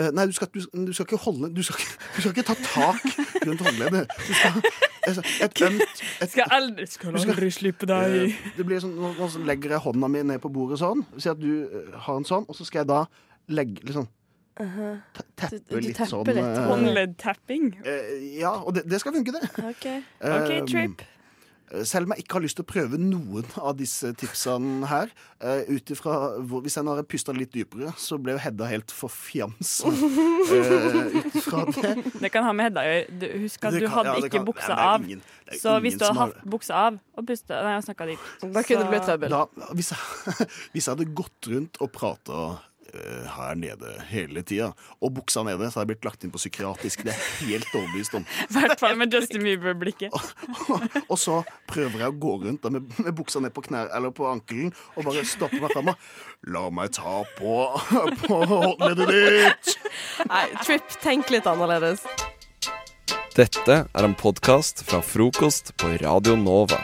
S17: Eh, nei, du skal, du, du skal ikke holde Du skal, ikke- du skal ikke ta tak rundt håndleddet. Du skal altså, et ømt et,
S19: Skal aldri, skal
S17: Du skal-
S19: aldri slippe deg.
S17: eh, Det blir sånn, nå, nå så legger jeg hånda mi ned på bordet sånn. Si at du eh, har en sånn, og så skal jeg da legge liksom
S15: Uh-huh.
S17: teppe
S15: Du- du
S17: litt
S15: tepper
S17: sånn
S15: litt.
S17: eh,
S19: Håndleddtapping.
S17: eh, Ja, og det, det skal funke, det.
S15: Ok.
S17: Eh,
S19: OK, Trip.
S17: Selv om jeg ikke har lyst til å prøve noen av disse tipsene her, eh, ut ifra hvor Hvis jeg nå hadde pusta litt dypere, så ble jo Hedda helt forfjamsa eh, ut ifra det.
S19: Det kan ha med Hedda å gjøre. Du- Husk at
S17: Det
S19: du
S17: kan-
S19: hadde
S17: ja, det
S19: ikke
S17: kan-
S19: buksa
S17: Nei, det er
S19: av.
S17: ingen- det er
S19: Så hvis
S17: ingen
S19: du hadde
S17: som har-
S19: hatt buksa av og pusta Nei, og snakka dit.
S15: Da kunne det blitt trøbbel.
S17: Da, hvis, jeg, hvis jeg hadde gått rundt og prata eh, her nede hele tida, og buksa nede, så hadde jeg blitt lagt inn på psykiatrisk. Det er jeg helt overbevist om.
S19: I hvert fall med Justin Bieber-blikket.
S17: Og så prøver jeg å gå rundt da, med, med buksa ned på knær, eller på ankelen og bare stoppe meg fram. og, La meg ta på, på håndleddet ditt!
S15: Nei, Tripp, tenk litt annerledes.
S14: Dette er en podkast fra frokost på Radio Nova.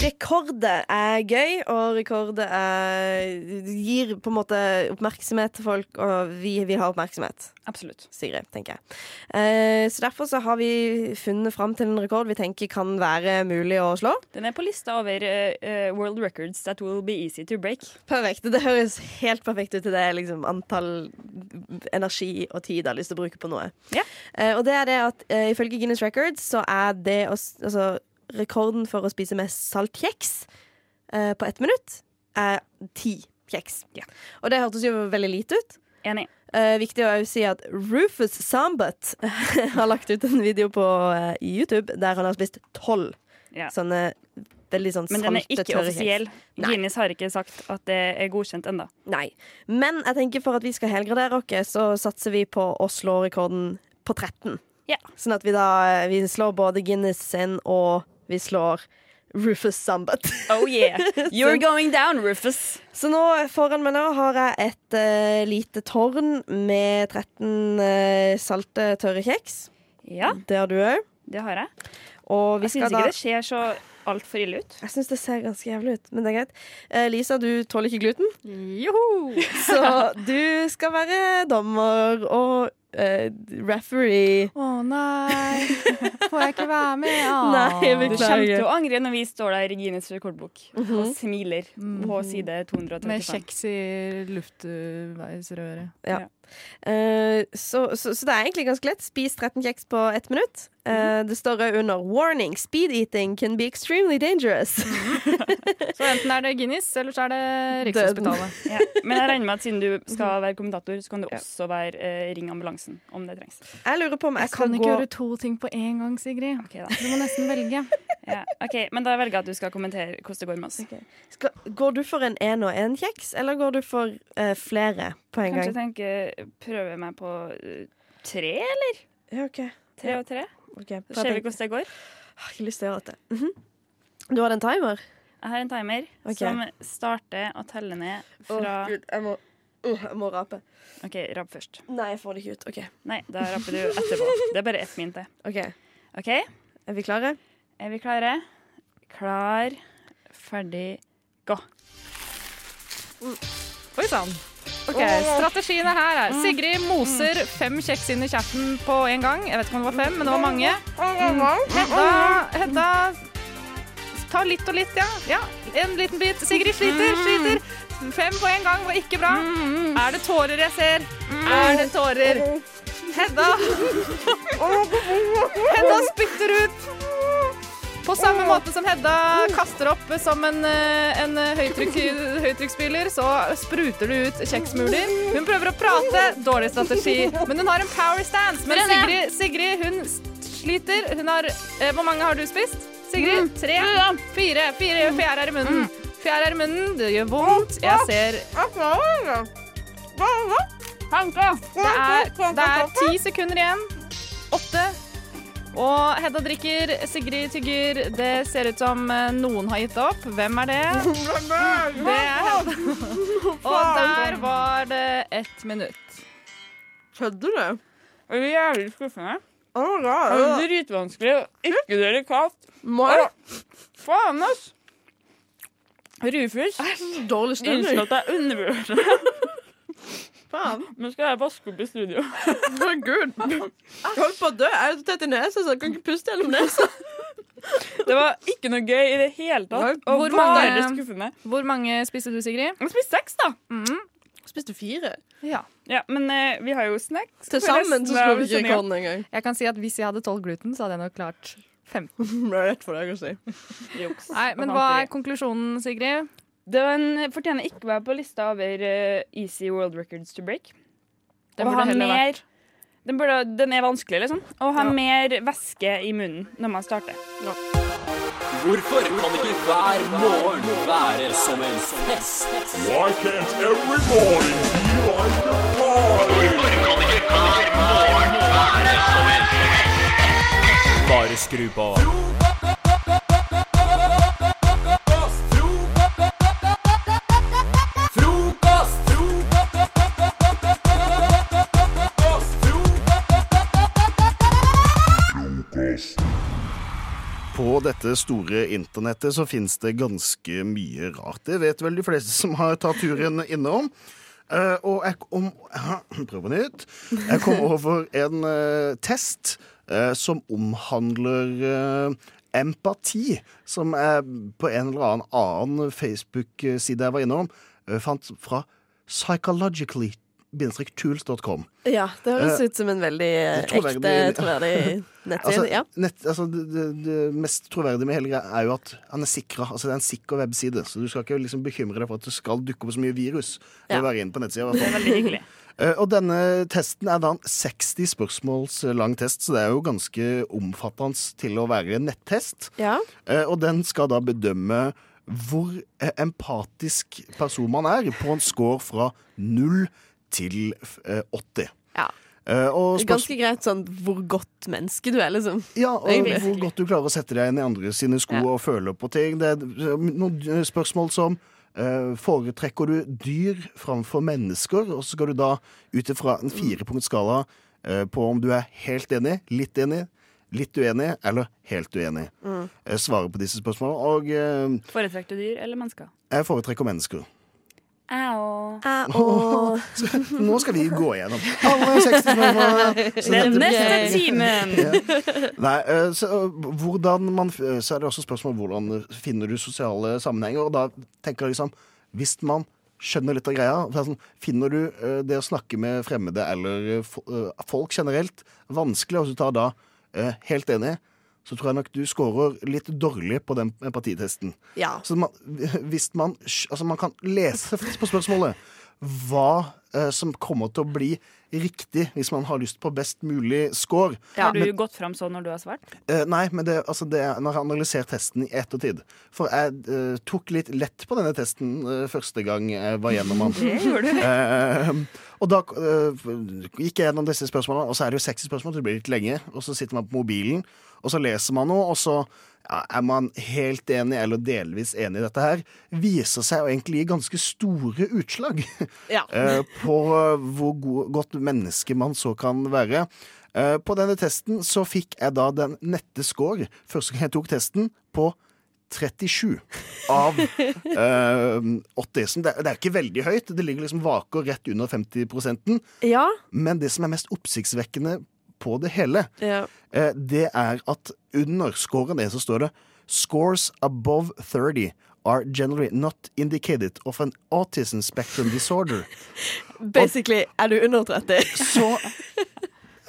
S15: Rekorder er gøy, og rekorder er, gir på en måte oppmerksomhet til folk, og vi vil ha oppmerksomhet.
S19: Absolutt.
S15: Sigrid, tenker jeg. Eh, så derfor så har vi funnet fram til en rekord vi tenker kan være mulig å slå.
S19: Den er på lista over eh, eh, world records that will be easy to break.
S15: Perfekt. Det høres helt perfekt ut til det liksom, antall energi og tid jeg har lyst til å bruke på noe. Eh, og det er det at eh, ifølge Guinness Records så er det å, s- altså, rekorden for å spise mest saltkjeks eh, på ett minutt er ti kjeks. Og det hørtes jo veldig lite ut.
S19: Enig.
S15: Eh, viktig å også si at Rufus Sambutt har lagt ut en video på eh, YouTube der han har spist tolv
S19: Ja.
S15: sånne veldig sånn
S19: Men den er
S15: salte,
S19: ikke
S15: tørre
S19: offisiell.
S15: kjeks. Nei.
S19: Guinness har ikke sagt at det er godkjent ennå.
S15: Nei. Men jeg tenker for at vi skal helgradere oss, så satser vi på å slå rekorden på 13. Sånn at vi da vi slår både Guinness sin, og vi slår Rufus Sambat.
S19: Oh yeah. You're going down, Rufus.
S15: Så nå foran meg nå har jeg et eh, lite tårn med 13 eh, salte, tørre kjeks.
S19: Ja.
S15: Det har du òg.
S19: Det har jeg.
S15: Og vi
S19: Jeg syns
S15: skal
S19: ikke
S15: da
S19: det ser så altfor ille ut.
S15: Jeg syns det ser ganske jævlig ut, men det er greit. Eh, Lisa, du tåler ikke gluten.
S19: Joho!
S15: Så du skal være dommer og eh, referee.
S5: Å nei, får jeg ikke være med? Å.
S15: Nei, jeg
S19: Du
S15: beklager.
S19: kommer til å angre når vi står der i Guinness rekordbok og
S15: Mhm.
S19: smiler på side 235.
S5: Med kjeks i luftveisrøret.
S15: Ja. Eh, så, så, så det er egentlig ganske lett. Spis 13 kjeks på ett minutt.
S5: Mhm.
S15: Eh, det står også under 'Warning. Speed eating can be extremely dangerous'.
S5: Så enten er det Guinness, eller så er det Rikshospitalet.
S19: Mhm. Ja. Men jeg regner med at siden du skal være kommentator, så kan du også være eh, Ring sjansen om det trengs.
S15: Jeg lurer på om jeg,
S19: Jeg
S15: skal
S19: kan ikke
S15: gå
S19: gjøre
S15: to.
S5: To ting på én gang, Sigrid.
S19: Du må nesten velge. ja, ok, Men da velger jeg at du skal kommentere hvordan det går med oss.
S15: Skal, går du for en én og én kjeks, eller går du for eh, flere på en
S19: Kanskje
S15: gang?
S19: tenke prøve meg på eh, tre, eller?
S15: Ja, ok.
S19: Tre og tre.
S15: Ok,
S19: Så ser vi
S15: prøv å tenke.
S19: hvordan det går.
S15: Jeg har ikke lyst til å gjøre dette. Mhm. Du har en timer?
S19: Jeg har en timer
S15: Ok.
S19: som starter å telle ned fra
S15: Å, Gud, jeg må, Åh, jeg må rape.
S19: OK, rapp først.
S15: Nei, jeg får det ikke ut. OK.
S19: Nei, da rapper du etterpå. Det er bare ett min til.
S15: OK.
S19: OK? Er
S15: vi klare?
S19: Er vi klare? Klar, ferdig, gå.
S2: Oi sann. Ok, Strategiene her er Sigrid moser fem kjeks inn i kjeften på en gang. Jeg vet ikke om det var fem, men det var mange. Mm. Hedda, Hedda tar litt og litt, ja. ja. En liten bit. Sigrid sliter, sliter. Fem på en gang var ikke bra. Er det tårer jeg ser? Er det tårer? Hedda Hedda spytter ut. På samme måte som Hedda kaster opp som en, eh, en høytrykk, høytrykksspyler, så spruter det ut kjeksmuler. Hun prøver å prate, dårlig strategi, men hun har en power stance. Men Sigrid, Sigrid hun s- sliter. Hun har eh, Hvor mange har du spist? Sigrid? Tre? Fire. Fire fjær er i munnen. Fjær er i munnen, det gjør vondt. Jeg ser Det er, det er ti sekunder igjen. Åtte, og Hedda drikker, Sigrid tygger. Det ser ut som eh, noen har gitt opp. Hvem er det? Det er Hedda. Og der var det ett minutt.
S15: Kødder du?
S19: Det er jævlig skuffende.
S15: Oh my
S19: Det er dritvanskelig og ikke delikat.
S15: Nei.
S19: Faen, ass! Rufus.
S15: Dårlig stemning.
S19: Innser at det er undervurdert.
S15: Faen.
S19: Nå skal jeg vaske opp i studio.
S15: Herregud. Jeg holder på å dø. Jeg er så tett i nesa, så jeg kan ikke puste gjennom nesa.
S19: Det var ikke noe gøy i det hele tatt. Og
S15: Hvor
S19: bare
S15: mange-
S19: skuffende.
S2: Hvor mange spiste du, Sigrid?
S19: Jeg spiste seks, da.
S15: Spiste fire.
S2: Ja. liksom
S19: Ja, men eh, vi har jo snacks.
S15: Til sammen så skulle vi ikke rekke hånden engang.
S2: Jeg kan si at hvis jeg hadde tolv gluten, så hadde jeg nok klart 15.
S15: Det er rett for deg å si.
S2: Nei, men hva er konklusjonen, Sigrid?
S19: Den fortjener ikke å være på lista over eh, Easy World Records to break.
S2: Den
S19: Å
S2: burde
S19: ha
S2: heller vært-
S19: mer- Den, burde, den er vanskelig, liksom. Å ha
S2: Ja.
S19: mer væske i munnen når man starter.
S18: Hvorfor kan ikke hver morgen være som en fest? Why can't every morning be like a party?
S20: Bare skru på.
S17: På dette store internettet så finnes det ganske mye rart. Det vet vel de fleste som har tatt turen innom. Eh, og jeg kom Prøv på nytt. Jeg kom over en eh, test eh, som omhandler eh, empati, som jeg på en eller annen annen Facebook-side jeg var innom, eh, fant fra psychologically-tools.com.
S15: Ja, det høres
S17: Eh,
S15: ut som en veldig eh,
S17: Det
S15: ekte,
S17: troverdige-
S15: troverdig nettside.
S17: Altså,
S15: ja.
S17: nett, altså, det, det, det mest troverdige med hele greia er jo at han er sikra. Altså, det er en sikker webside, så du skal ikke liksom bekymre deg for at det skal dukke opp så mye virus. ved
S15: Ja.
S17: å være inne på nettsida, i
S15: Det
S17: hvert
S15: er
S17: fall.
S15: veldig hyggelig.
S17: Eh, Og denne testen er da en 60 spørsmåls lang test, så det er jo ganske omfattende til å være en nettest.
S15: Ja.
S17: Eh, Og den skal da bedømme hvor eh, empatisk person man er, på en score fra 0 til eh, 80.
S15: Ja.
S17: Eh, Og spørs-
S15: Ganske greit sånn hvor godt menneske du er, liksom.
S17: Ja, og hvor godt du klarer å sette deg inn i andre sine sko og føle på ting. Det er noen spørsmål som eh, Foretrekker du dyr framfor mennesker? Og så skal du da ut ifra en firepunktsskala eh, på om du er helt enig, litt enig, litt uenig eller helt uenig.
S19: Mm.
S17: Eh, Svare på disse spørsmålene. Og eh,
S19: Foretrekte dyr eller mennesker?
S17: jeg foretrekker mennesker.
S19: Au.
S17: Så Nå skal vi gå igjennom alle 60 spørsmålene. Så
S19: Den
S17: dette-
S19: neste timen.
S17: Nei, eh, så, eh, hvordan man, eh, så er det også spørsmål om hvordan finner du sosiale sammenhenger. Og da tenker jeg liksom Hvis man skjønner litt av greia for det er sånn, Finner du eh, det å snakke med fremmede eller eh, fo- eh, folk generelt vanskelig, og så tar da eh, helt enig, så tror jeg nok du scorer litt dårlig på den empatitesten.
S15: Ja.
S17: Så man, hvis man, skj- altså man kan lese på spørsmålet hva eh, som kommer til å bli riktig hvis man har lyst på best mulig score.
S19: Har du
S17: Men-
S19: gått fram sånn når du har svart?
S17: Eh, nei, men det, altså det, er- når jeg har analysert testen i ettertid. For jeg eh, tok litt lett på denne testen eh, første gang jeg var gjennom den.
S18: Det gjorde du.
S17: Eh, og da eh, gikk jeg gjennom disse spørsmålene, og så er det jo 60 spørsmål, så det blir litt lenge. Og så sitter man på mobilen, og så leser man noe, og så ja, er man helt enig eller delvis enig i dette her. Viser seg å egentlig gi ganske store utslag.
S18: Ja.
S17: Eh, på eh, hvor go godt menneske man så kan være. Eh, på denne testen så fikk jeg da den nette score, første gang jeg tok testen, på 37 av eh, 80. Så det, er- det er ikke veldig høyt. Det ligger liksom vaker rett under 50
S15: Ja.
S17: Men det som er mest oppsiktsvekkende på det hele,
S15: Ja.
S17: eh, det er at under scoren det så står det Scores above 30 are generally not indicated of an autism spectrum disorder.
S15: Basically, er du under 30?
S17: Så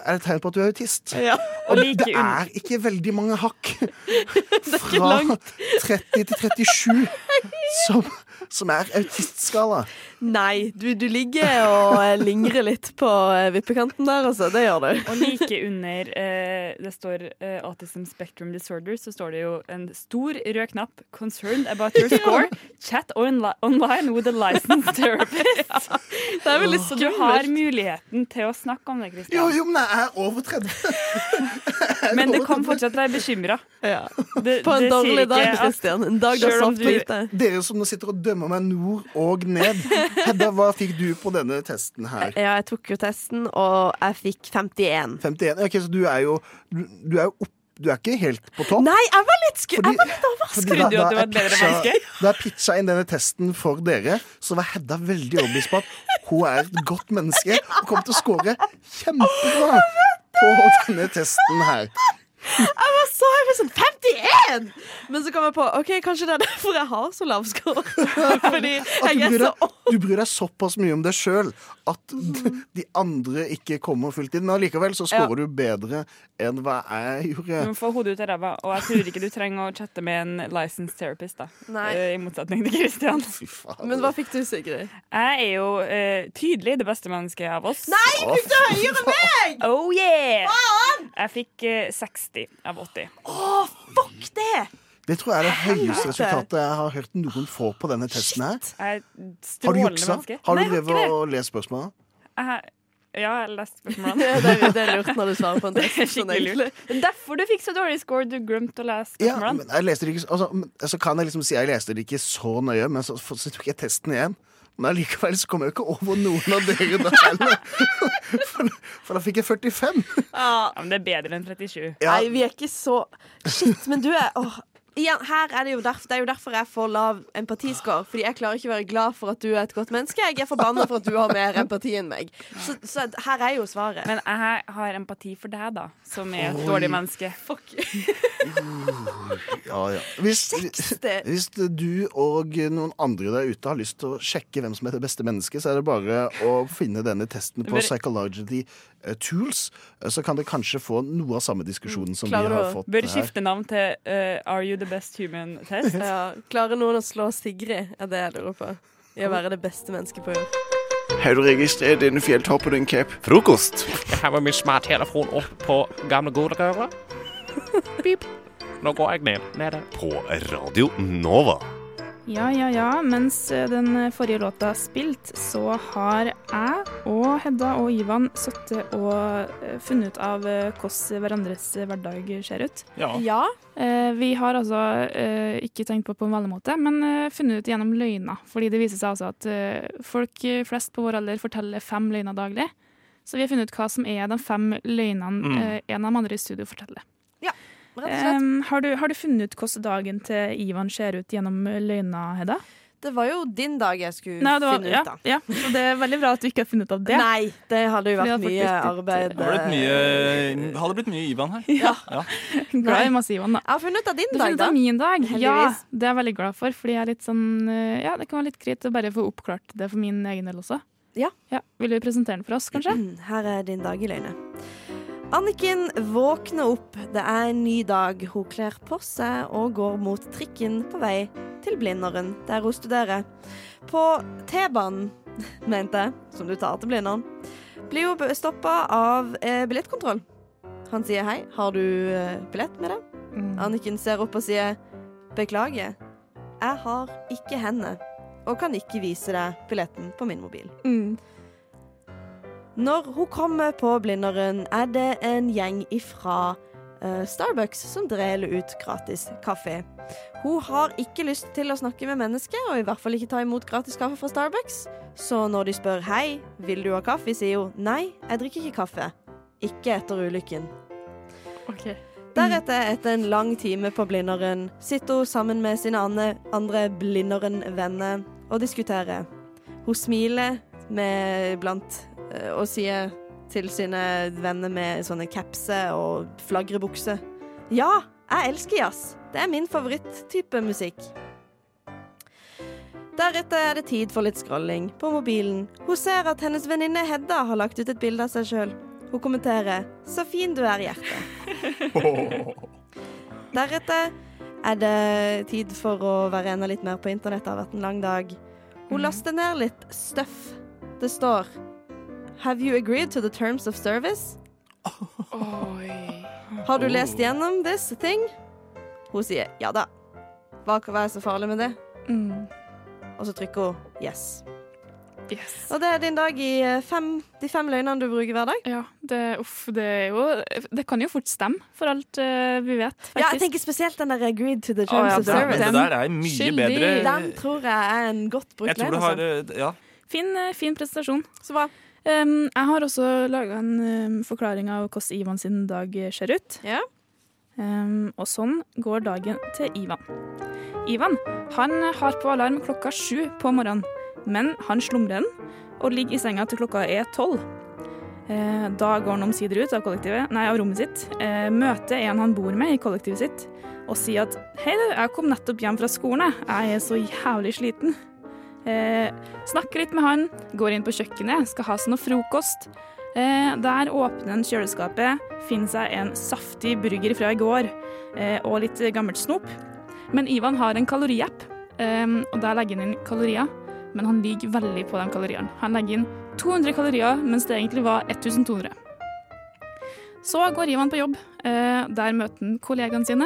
S17: er det tegn på at du er autist.
S15: Ja.
S17: Og
S15: Like
S17: det
S15: under.
S17: er ikke veldig mange hakk
S15: ikke
S17: fra
S15: langt.
S17: 30 til 37 som, som er autistskala.
S15: Nei, du, du ligger og eh, lingrer litt på eh, vippekanten der, altså. Det gjør du.
S19: Og like under eh, det står eh, Autism Spectrum Disorder, så står det jo en stor rød knapp 'Concerned about your score. Chat onli- online with a licensed therapist'. Det
S15: er veldig
S19: Så du har muligheten til å snakke om det, Kristian.
S17: Jo, jo, men jeg er over 30.
S19: Men det kan fortsatt være bekymra. Det-
S15: På
S19: det
S15: en
S19: sier
S15: dårlig dag,
S19: ikke at-
S15: Christian. En dag du har
S19: Selv om
S15: sovet lite.
S17: Dere som nå sitter og dømmer meg nord og ned. Hedda, hva fikk du på denne testen her?
S15: Eh, Ja, jeg tok jo testen, og jeg fikk 51.
S17: 51. Ok, så du er jo Du, du er jo opp, du er ikke helt på topp.
S15: Nei, jeg var litt skru...
S17: Fordi-
S15: jeg var litt overrasket.
S17: Fordi da- da jeg pitcha- Da jeg pitcha inn denne testen for dere, så var Hedda veldig overbevist på at hun er et godt menneske og kommer til å score kjempebra på denne testen her.
S15: Jeg var så jeg var sånn 51! Men så kom jeg på OK, kanskje det er derfor jeg har så lav score. Fordi
S17: At du
S15: jeg er
S17: bryr,
S15: så
S17: deg, du bryr deg såpass mye om deg sjøl at d- de andre ikke kommer fullt inn. Men allikevel så scorer du bedre enn hva jeg
S19: Du
S17: gjorde.
S19: må få hodet ut av ræva, og jeg tror ikke du trenger å chatte med en licensed therapist. da
S15: Nei.
S19: Eh, I motsetning til Kristian.
S15: Men hva fikk du, Sigrid?
S19: Jeg er jo eh, tydelig det beste mennesket av oss.
S15: Nei,
S18: du fikk det høyere enn
S15: meg!
S19: Oh yeah! Jeg fikk eh, 60 av 80.
S17: Det tror jeg er det høyeste
S19: Helvete.
S17: resultatet jeg har hørt noen få på denne testen her.
S19: Jeg er et
S17: Har du
S19: strålende
S17: juksa?
S19: menneske.
S17: Har
S19: Nei,
S17: du
S19: jeg ikke
S17: drevet
S19: det.
S17: og lest spørsmålene?
S19: Jeg- Ja, jeg har lest spørsmålene.
S15: Ja, det er- det er lurt når du svarer på en test,
S19: Det er
S15: sånn
S19: skikkelig lurt. Det er derfor du fikk så dårlig score. Du glemte å lese
S17: Ja,
S19: spørsmålene.
S17: men jeg leste det ikke altså, men- Så kan jeg liksom si jeg leste det ikke så nøye, men så, så tok jeg testen igjen. Men allikevel så kom jeg jo ikke over noen av dere da heller. For, for da fikk jeg 45.
S19: Ja, men det er bedre enn 37.
S15: Nei, vi er ikke så Shit, men du er åh. Igjen, her er det, jo derf, det er jo derfor jeg får lav empatiscore. Fordi jeg klarer ikke å være glad for at du er et godt menneske. Jeg er forbanna for at du har mer empati enn meg. Så, så her er jo svaret.
S19: Men jeg har empati for deg, da, som er et
S17: Oi.
S19: dårlig menneske.
S17: Ja, ja. Hvis, hvis du og noen andre der ute har lyst til å sjekke hvem som er det beste mennesket, så er det bare å finne denne testen på
S15: Bare-
S17: Psychology eh, Tools. eh, Så kan dere kanskje få noe av samme diskusjonen som vi har fått
S19: Bør
S17: her.
S19: skifte navn til eh, Are you the best human test?
S15: Ja, klarer noen å slå Sigrid? Er det jeg lurer på. I å være det beste mennesket på jord.
S7: Har du registrert denne fjelltoppen din, Cap?
S9: Frokost. Jeg har med min smarttelefon opp på gamle godrøra. Pip. Nå går jeg ned. ned der.
S8: På Radio Nova.
S21: Ja, ja, ja. Mens eh, den forrige låta er spilt, så har jeg og Hedda og Ivan sittet og eh, funnet ut av eh, hvordan hverandres hverdag ser ut.
S18: Ja. Ja.
S21: Eh, Vi har altså eh, ikke tenkt på på en vanlig måte, men eh, funnet ut gjennom løgner. Fordi det viser seg altså at eh, folk flest på vår alder forteller fem løgner daglig. Så vi har funnet ut hva som er de fem løgnene
S18: Mm.
S21: eh, en av de andre i studio forteller.
S15: rett og slett.
S21: Em, har, du, har du funnet ut hvordan dagen til Ivan ser ut gjennom løgner, Hedda?
S15: Det var jo din dag jeg skulle
S21: Nei, det var,
S15: finne
S21: ja,
S15: ut, da.
S21: ja, så det er veldig bra at du ikke har funnet ut av det.
S15: Nei, det hadde jo
S21: For
S15: vært
S21: det
S15: mye
S21: hadde
S15: arbeid.
S21: faktisk blitt-
S8: Har det blitt mye, har det blitt mye Ivan her?
S21: Ja.
S8: ja.
S21: Glad i masse Ivan, da.
S15: Jeg har funnet ut av din
S21: Du har
S15: dag,
S21: funnet
S15: da.
S21: ut av min dag. Ja,
S15: Heldigvis.
S21: det er jeg veldig glad for, fordi jeg er litt sånn eh, Ja, det kan være litt greit å bare få oppklart det for min egen del også.
S15: Ja. Mm,
S21: Vil du presentere den for oss, kanskje?
S15: Her er din dag i løgnet. Anniken våkner opp. Det er en ny dag. Hun kler på seg og går mot trikken på vei til Blindern, der hun studerer. På T-banen mente, som du tar til blinderen, blir jo stoppa av eh, billettkontroll. Han sier hei, har du eh, billett med deg? Anniken ser opp og sier beklager, jeg har ikke henne og kan ikke vise deg billetten på min mobil.
S21: Mm,
S15: Når hun kommer på Blindern, er det en gjeng ifra eh, Starbucks som deler ut gratis kaffe. Hun har ikke lyst til å snakke med mennesker, og i hvert fall ikke ta imot gratis kaffe fra Starbucks. Så når de spør 'Hei, vil du ha kaffe?' sier hun 'Nei, jeg drikker ikke kaffe'. Ikke etter ulykken. Deretter, etter en lang time på Blindern, sitter hun sammen med sine andre, andre Blindern-venner og diskuterer. Hun smiler med blant eh, og sier til sine venner med sånne capser og flagrebukser Ja, jeg elsker jazz. Det er min favoritttype musikk. Deretter er det tid for litt scrolling på mobilen. Hun ser at hennes venninne Hedda har lagt ut et bilde av seg sjøl. Hun kommenterer 'Så fin du er, hjerte'. Deretter er det tid for å være enda litt mer på internett. Det har vært en lang dag. Hun laster ned litt stuff. Det står 'Have you agreed to the terms of service?' Har du lest gjennom this thing? Hun sier 'ja da'. Hva kan være så farlig med det?
S2: Mm.
S15: Og så trykker hun 'yes'. Og det er din dag i eh, fem, de fem løgnene du bruker hver dag?
S21: Ja, det, uff, det er jo Det kan jo fort stemme, for alt eh, vi vet.
S15: Ja, jeg tenker spesielt den der 'agreed to the
S21: Å,
S15: terms
S21: ja,
S15: of
S21: den-
S15: service'.
S21: den
S6: der er mye bedre.
S15: Den tror jeg er en godt brukt
S6: Jeg tror
S15: løgn,
S6: du
S15: altså.
S6: har
S21: sånn?
S6: eh, Ja.
S21: Fin, eh, fin presentasjon.
S15: Så bra.
S21: Um, jeg har også laga en um, forklaring av hvordan Ivan sin dag ser ut. Um, og sånn går dagen til Ivan. Ivan han har på alarm klokka sju på morgenen, men han slumrer den og ligger i senga til klokka er tolv. Eh, Da går han omsider ut av, kollektivet, nei, av rommet sitt, eh, møter en han bor med i kollektivet sitt, og sier at hei, du, jeg kom nettopp hjem fra skolen, jeg. jeg er så jævlig sliten. Eh, snakker litt med han, går inn på kjøkkenet, skal ha seg noe frokost. Eh, der åpner han kjøleskapet, finner seg en saftig burger fra i går eh, og litt gammelt snop. Men Ivan har en kaloriapp, eh, og der legger han inn kalorier. Men han lyver veldig på de kaloriene. Han legger inn 200 kalorier, mens det egentlig var 1200. Så går Ivan på jobb. Eh, der møter han kollegaene sine.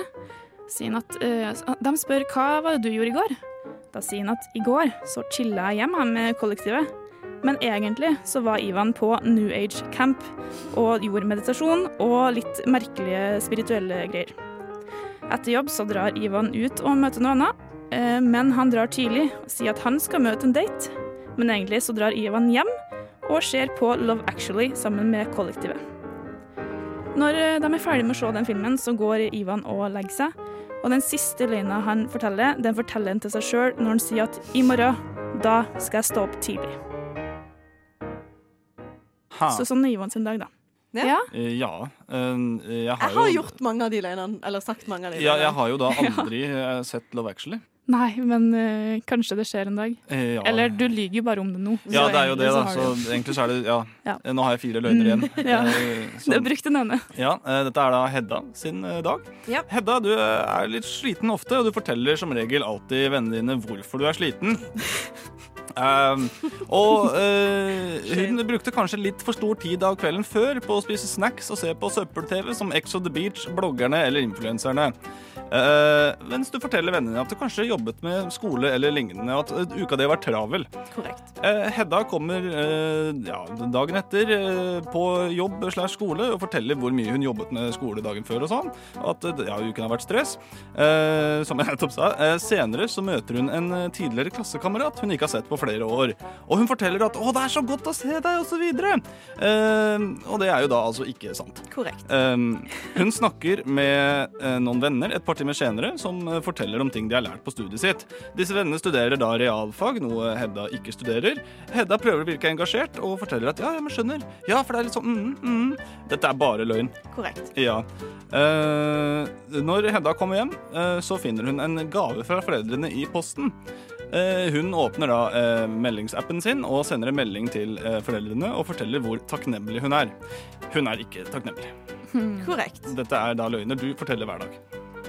S21: Sier han at, eh, de spør hva var det du gjorde i går. Da sier han at i går så chilla jeg hjemme med kollektivet. Men egentlig så var Ivan på New Age Camp og gjorde meditasjon og litt merkelige spirituelle greier. Etter jobb så drar Ivan ut og møter noen annen, eh, men han drar tidlig og sier at han skal møte en date. Men egentlig så drar Ivan hjem og ser på Love Actually sammen med kollektivet. Når eh, de er ferdig med å se den filmen, så går Ivan og legger seg. Og den siste løgna han forteller, den forteller han til seg sjøl når han sier at i morgen, da skal jeg stå opp tidlig.
S8: Ha.
S21: Så sånn er Ivan sin dag, da. Ja.
S8: Eh, ja. eh, jeg har,
S15: Jeg har
S8: jo
S15: gjort mange av de løgnene. Eller sagt mange av de
S8: ja, Jeg har jo da
S21: Ja.
S8: aldri eh, sett Love Actually.
S21: Nei, men eh, kanskje det skjer en dag.
S8: Eh, ja.
S21: Eller du lyver jo bare om det nå.
S8: Ja,
S21: så
S8: det er jo det,
S21: egentlig
S8: da.
S21: har
S8: Så
S21: du-
S8: egentlig så er det Ja.
S21: Ja. Mm.
S8: Eh, Nå har jeg fire løgner igjen.
S21: Ja.
S8: Eh,
S21: Du
S8: så-
S21: har brukt den ene.
S8: Ja, eh, Dette er da Hedda sin eh, dag. Hedda, du eh, er litt sliten ofte, og du forteller som regel alltid vennene dine hvorfor du er sliten. Um, og eh, hun brukte kanskje litt for stor tid av kvelden før på å spise snacks og se på søppel-TV som Ex on the Beach, bloggerne eller influenserne. Eh, mens du forteller vennene dine at du kanskje jobbet med skole eller lignende, og at eh, uka di var travel.
S15: Korrekt.
S8: Eh, Hedda kommer eh, ja, dagen etter eh, på jobb slash skole og forteller hvor mye hun jobbet med skole dagen før og sånn. Og at eh, ja, uken har vært stress. Eh, som jeg nettopp sa. Eh, senere så møter hun en eh, tidligere klassekamerat hun ikke har sett på flere år. Og hun forteller at 'Å, det er så godt å se deg', og så videre. Eh, og det er jo da altså ikke sant.
S15: Korrekt.
S8: Um, hun snakker med eh, noen venner et par timer senere som eh, forteller om ting de har lært på studiet sitt. Disse vennene studerer da realfag, noe Hedda ikke studerer. Hedda prøver å virke engasjert og forteller at ja, ja, men skjønner. Ja, for det er litt sånn mm, mm. Dette er bare løgn.
S15: Korrekt.
S8: Ja. Eh, når Hedda kommer hjem, eh, så finner hun en gave fra foreldrene i posten. Eh, hun åpner da eh, meldingsappen sin og sender en melding til eh, foreldrene og forteller hvor takknemlig hun er. Hun er ikke takknemlig.
S15: Korrekt.
S8: Dette er da løgner du forteller hver dag.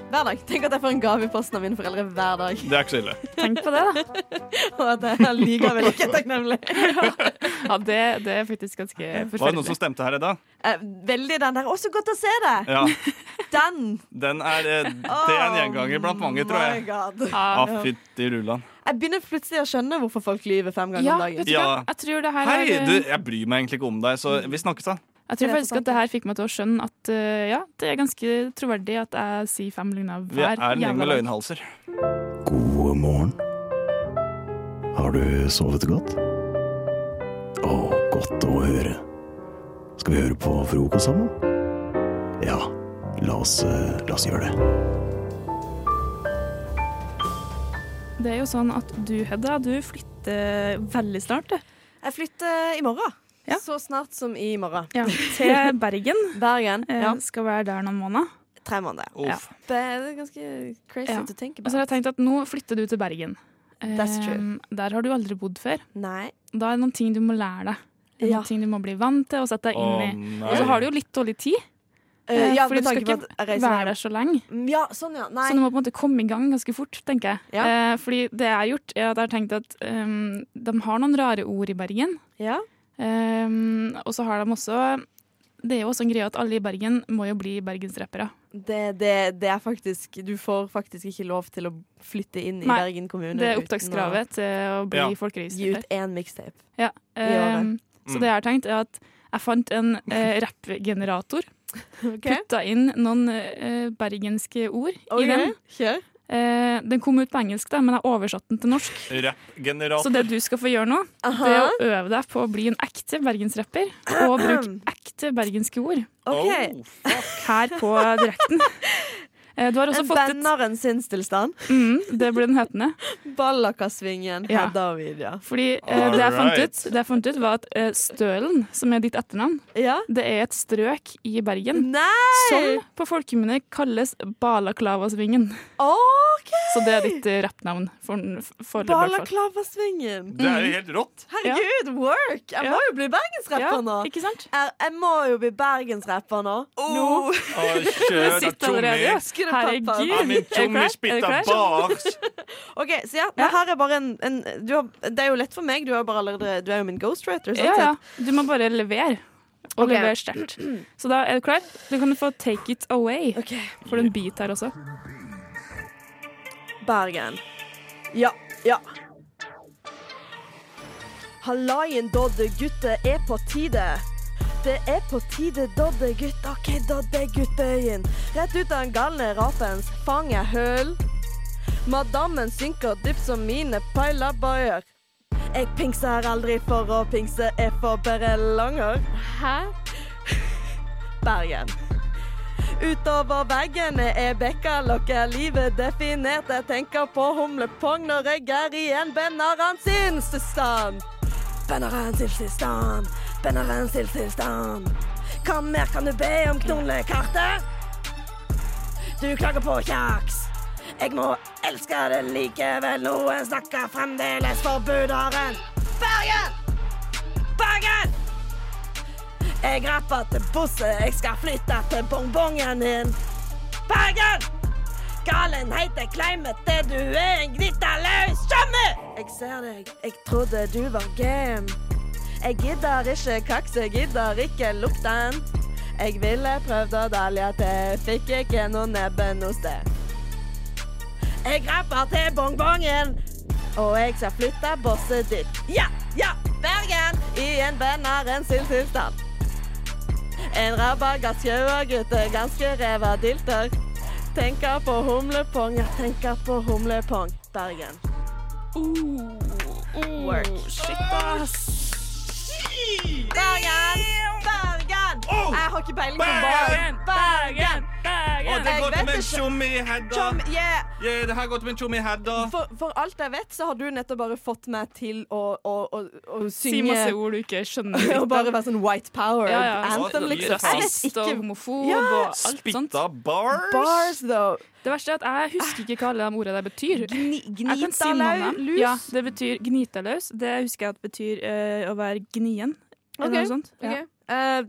S15: Hver dag. Tenk at jeg får en gave i posten av mine foreldre hver dag.
S8: Det er ikke så ille.
S15: Tenk på det, da. Og at jeg er likevel ikke takknemlig.
S21: Ja, det, det er faktisk ganske
S8: Var det noen som
S21: forferdelig.
S8: stemte her, Edda?
S15: Eh, Veldig den der. Å, så godt å se deg!
S8: Ja.
S15: Den!
S8: Den er, eh, det er en gjenganger blant mange, tror
S21: Oh
S15: My
S8: jeg.
S15: God.
S8: Ah, fytti rullan.
S15: Jeg begynner plutselig å skjønne hvorfor folk lyver fem ganger om dagen.
S8: Ja.
S21: tror det her
S8: Hei,
S21: er-
S8: du, jeg bryr meg egentlig ikke om deg, så vi snakkes, da.
S21: Jeg tror faktisk at det her fikk meg til å skjønne at eh, ja, det er ganske troverdig at jeg sier fem løgner
S8: Vi
S21: hver
S8: er en gjeng med
S21: dag.
S8: løgnhalser.
S1: God morgen. Har du sovet godt? Å, godt å høre. Skal vi høre på frokost sammen? Ja, la oss, eh, la oss gjøre det.
S21: Det er jo sånn at du, Hedda, du flytter veldig snart. du.
S15: Jeg flytter i morgen. Så snart som i morgen.
S21: Til Bergen.
S15: Bergen,
S21: Eh,
S15: ja.
S21: Skal være der noen måneder.
S15: Tre måneder.
S21: Ja.
S15: Det er ganske crazy
S21: Ja.
S15: to think
S21: Og
S15: about.
S21: så har jeg tenkt at nå flytter du til Bergen.
S15: That's true.
S21: Ehm, Der har du aldri bodd før.
S15: Nei.
S21: Da er det noen ting du må lære deg. Det er Noen ting du må bli vant til og sette deg
S15: Å,
S21: inn i.
S15: nei.
S21: Og så har du jo litt dårlig tid.
S15: Eh,
S21: eh,
S15: ja,
S21: fordi du
S15: med
S21: skal
S15: tanke på
S21: ikke
S15: at jeg reiser
S21: være
S15: hjem.
S21: der så lenge.
S15: Ja, sånn, ja. Nei.
S21: Så du må på en måte komme i gang ganske fort, tenker jeg.
S15: Ja.
S21: Eh, fordi det jeg har gjort, er at jeg har tenkt at ehm, de har noen rare ord i Bergen.
S15: Ja.
S21: Ehm, og så har de også Det er jo også en greie at alle i Bergen må jo bli bergensrappere.
S15: Det, det, det er faktisk Du får faktisk ikke lov til å flytte inn i
S21: Nei,
S15: Bergen kommune.
S21: det er
S15: uten
S21: opptakskravet til å bli
S15: Ja. Gi
S21: folkeregistrert.
S15: ut én mixtape.
S21: Ja,
S15: I året.
S21: ehm, Så det jeg har tenkt er at jeg fant en eh, rappgenerator. Putta inn noen eh, bergenske ord
S15: Ok,
S21: i den. Eh, den kom ut på engelsk, da, men jeg oversatte den til norsk. Så
S8: Rappgenerator.
S21: det du skal få gjøre nå,
S8: Aha.
S21: det er å øve deg på å bli en ekte bergensrapper. Og bruke ekte bergenske ord
S13: Oh.
S15: Ok.
S21: her på direkten. Eh, du har også
S15: en
S21: fått et
S15: banneren sinnstilstand.
S21: Mm, det ble den hetende.
S15: Ballakasvingen,
S21: Ja.
S15: Hedda og Vidja.
S21: Fordi eh, det, jeg fant
S15: Alright.
S21: ut, det jeg fant ut, var at eh, Stølen, som er ditt etternavn, det er et strøk i Bergen som på folkemunne kalles Balaklavasvingen. Så det er ditt eh, rappnavn. For, for
S15: Balaklavasvingen!
S21: Det er jo helt
S8: rått.
S15: Herregud, work! Jeg må jo bli bergensrapper
S21: Ja,
S15: nå.
S21: ikke sant?
S15: Jeg, jeg må jo bli bergensrapper nå. Nå.
S8: kjør da, Tommy.
S15: Skru på
S8: Herregud.
S15: pappa.
S8: Ja, men Tommy
S15: Er du klar?
S8: spytter
S15: Er du klar?
S8: bars.
S15: OK, så ja, men her er bare en, en du har, Det er jo lett for meg, du er jo, bare allerede, du er jo min ghostwriter. Sånn
S21: Ja, ja.
S15: sett.
S21: Du må bare levere. Og
S15: Ok.
S21: levere sterkt. Så da er du klar? Du kan få Take It Away. Får du en beat her også?
S15: Bergen. Ja, ja. Hallaien, dodde gutter, er på tide. Det er på tide, dodde gutt. OK, dodde guttbøyen. Rett ut av den galne rapens fang jeg høl. Madammen synker dypt som mine pailabøyer. Jeg pingser aldri for å pingse, jeg får bare langer. Hæ? Bergen. Utover veggene er bekkalokket livet definert. Jeg tenker på humlepong når jeg er i en benaransins-stand. Benaransins-stand, benaransins-stand. Hva mer kan du be om, knollekartet? Du klager på kjaks. Jeg må elske det likevel. Noen snakker fremdeles forbuderen. Bergen! Bergen! Jeg rapper til Bosse, jeg skal flytte til bongbongen din. Bergen! Galen heter Kleimete, du er en glitterløs tjommi! Jeg ser deg, jeg trodde du var game. Jeg gidder ikke kaks, jeg gidder ikke lukten. Jeg ville prøvd å dalje til, fikk ikke noe nebbe noe sted. Jeg rapper til bongbongen, og jeg skal flytte bosset ditt. Ja, ja, Bergen! I en benneren sin tilstand. En rabagaskjauagutte, ganske ræva dilter. Tenker på humlepong, jeg tenker på humlepong, Bergen. Work. Shit,
S19: Ah,
S15: ass. Bergen! Bergen! Jeg har ikke peiling på barn. Bergen! Bergen!
S8: Og det
S15: Jeg
S8: går
S15: vet
S8: til min
S15: ikke-
S8: tjommi Hedda.
S15: Tjom- yeah.
S8: Yeah, det her går til min tjommi Hedda.
S15: For, for alt jeg vet, så har du nettopp bare fått meg til å, å, å, å synge
S21: Si masse ord du ikke skjønner. litt
S15: Og
S21: av.
S15: bare være sånn white power
S21: Ja, ja.
S15: anthem, liksom. Jeg vet
S21: Rasist og
S15: ikke-
S21: homofob
S15: Ja.
S21: og alt sånt.
S8: Spytta bars.
S15: Bars, though.
S21: Det verste er at jeg husker ikke hva alle de ordene der betyr. Jeg kan si noen av dem.
S15: gnitalus?
S21: Ja, det betyr gnitaløs. Det husker jeg at betyr eh, å være gnien. Eller
S15: Ok,
S21: noe sånt.
S15: ok.
S21: Ja.
S15: Eh,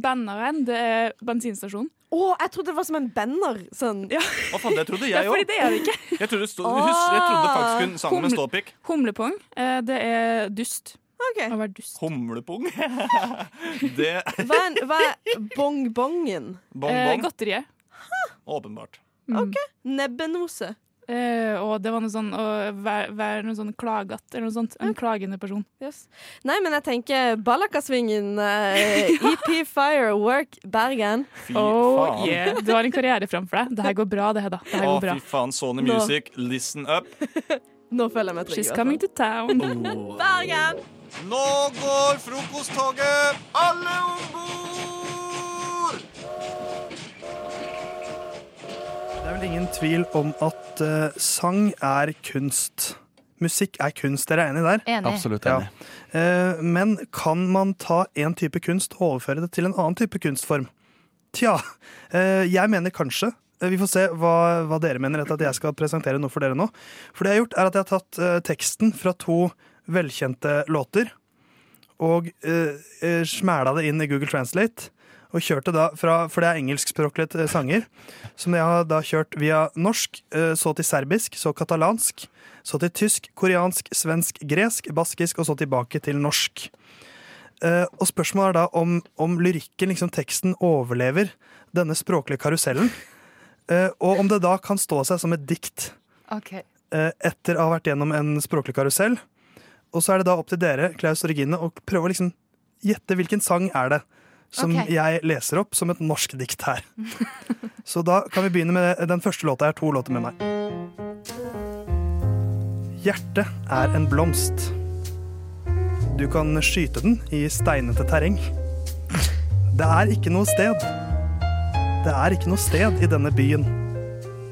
S21: Banneren, det er bensinstasjonen.
S15: Å, jeg trodde det var som en banner. Sånn. Ja.
S11: Å faen, det trodde
S21: Ja,
S11: jeg
S21: fordi
S11: òg.
S21: det er det ikke.
S11: Jeg trodde, stå, husker, jeg trodde faktisk hun sang med
S21: Humle-
S11: ståpikk.
S21: Humlepong, eh, det er dust.
S15: Okay.
S21: Å være dust.
S11: Humlepung. Det
S15: Hva er, hva er bongbongen?
S11: Bongbong? Eh,
S21: godteriet. Mm.
S11: Åpenbart.
S15: OK. Nebbenose.
S21: Eh, og det var noe sånn å være, være noe sånn klagatt eller noe sånt. En klagende person.
S15: Yes. Nei, men jeg tenker Ballakasvingen, eh, EP Firework, Bergen.
S21: Oh,
S11: faen.
S21: yeah. Du har en karriere framfor deg. Det her går bra, det, Hedda. Det her
S11: Å,
S21: går bra.
S11: fy faen. Sony
S21: Nå.
S11: Music, listen up.
S15: Nå føler jeg meg trygg. i
S21: She's
S15: hvert
S21: coming
S15: fall.
S21: to town.
S11: Oh.
S15: Bergen!
S11: Nå går frokosttoget! Alle om bord!
S3: Det er vel ingen tvil om at eh, sang er kunst. Musikk er kunst, dere er enig der?
S22: Enig. Absolutt enig.
S3: Ja. Eh, men kan man ta en type kunst og overføre det til en annen type kunstform? Tja, eh, jeg mener kanskje. Eh, Vi får se hva, hva dere mener etter at jeg skal presentere noe for dere nå. For det jeg har gjort er at jeg har tatt eh, teksten fra to velkjente låter og eh, eh, smæla det inn i Google Translate. Og kjørte da fra, For det er engelskspråklige eh, sanger. Som jeg har da kjørt via norsk, eh, så til serbisk, så katalansk. Så til tysk, koreansk, svensk, gresk, baskisk, og så tilbake til norsk. Eh, og spørsmålet er da om, om lyrikken, liksom teksten, overlever denne språklige karusellen. Eh, og om det da kan stå seg som et dikt
S22: OK.
S3: eh, etter å ha vært gjennom en språklig karusell. Og så er det da opp til dere, Klaus og Regine, å prøve å liksom gjette hvilken sang er det som
S22: Ok.
S3: jeg leser opp som et norsk dikt her. så da kan vi begynne med den første låta. Jeg har to låter med meg. Hjertet er en blomst. Du kan skyte den i steinete terreng. Det er ikke noe sted. Det er ikke noe sted i denne byen.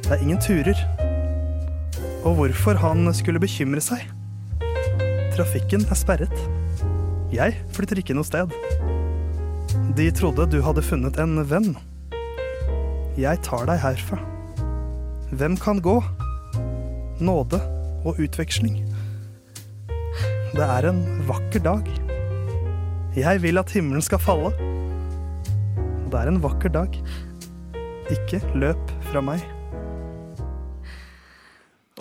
S3: Det er ingen turer. Og hvorfor han skulle bekymre seg. Trafikken er sperret. Jeg flytter ikke noe sted. De trodde du hadde funnet en venn. Jeg tar deg herfra. Hvem kan gå? Nåde og utveksling. Det er en vakker dag. Jeg vil at himmelen skal falle. Det er en vakker dag. Ikke løp fra meg.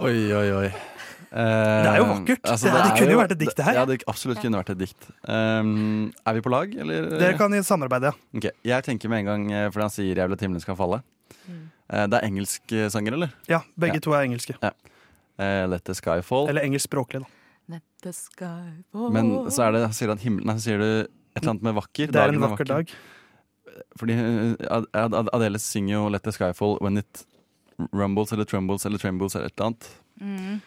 S22: Oi, oi, oi. Eh, altså,
S3: Det er jo vakkert. Det- det kunne jo vært et dikt, det her.
S22: Ja, det absolutt kunne vært et dikt. Um, er vi på lag, eller?
S3: Dere kan i samarbeid, ja.
S22: Ok, Jeg tenker med en gang, eh, fordi han sier 'jeg vil at himmelen skal falle'.
S7: Mm.
S22: Eh, Det er engelske sanger, eller?
S3: Ja, begge to er engelske.
S22: Ja. Eh, Let the sky fall.
S3: Eller engelskspråklig, da.
S22: Men så er det, sier han himmelen Nei, så sier du et eller annet med vakker.
S3: Det er
S22: dagen
S3: en vakker dag.
S22: Fordi eh, Ad- Ad- Adele synger jo 'Let the sky fall' when it rumbles eller trumbles eller trembles eller et eller annet.
S3: Mm.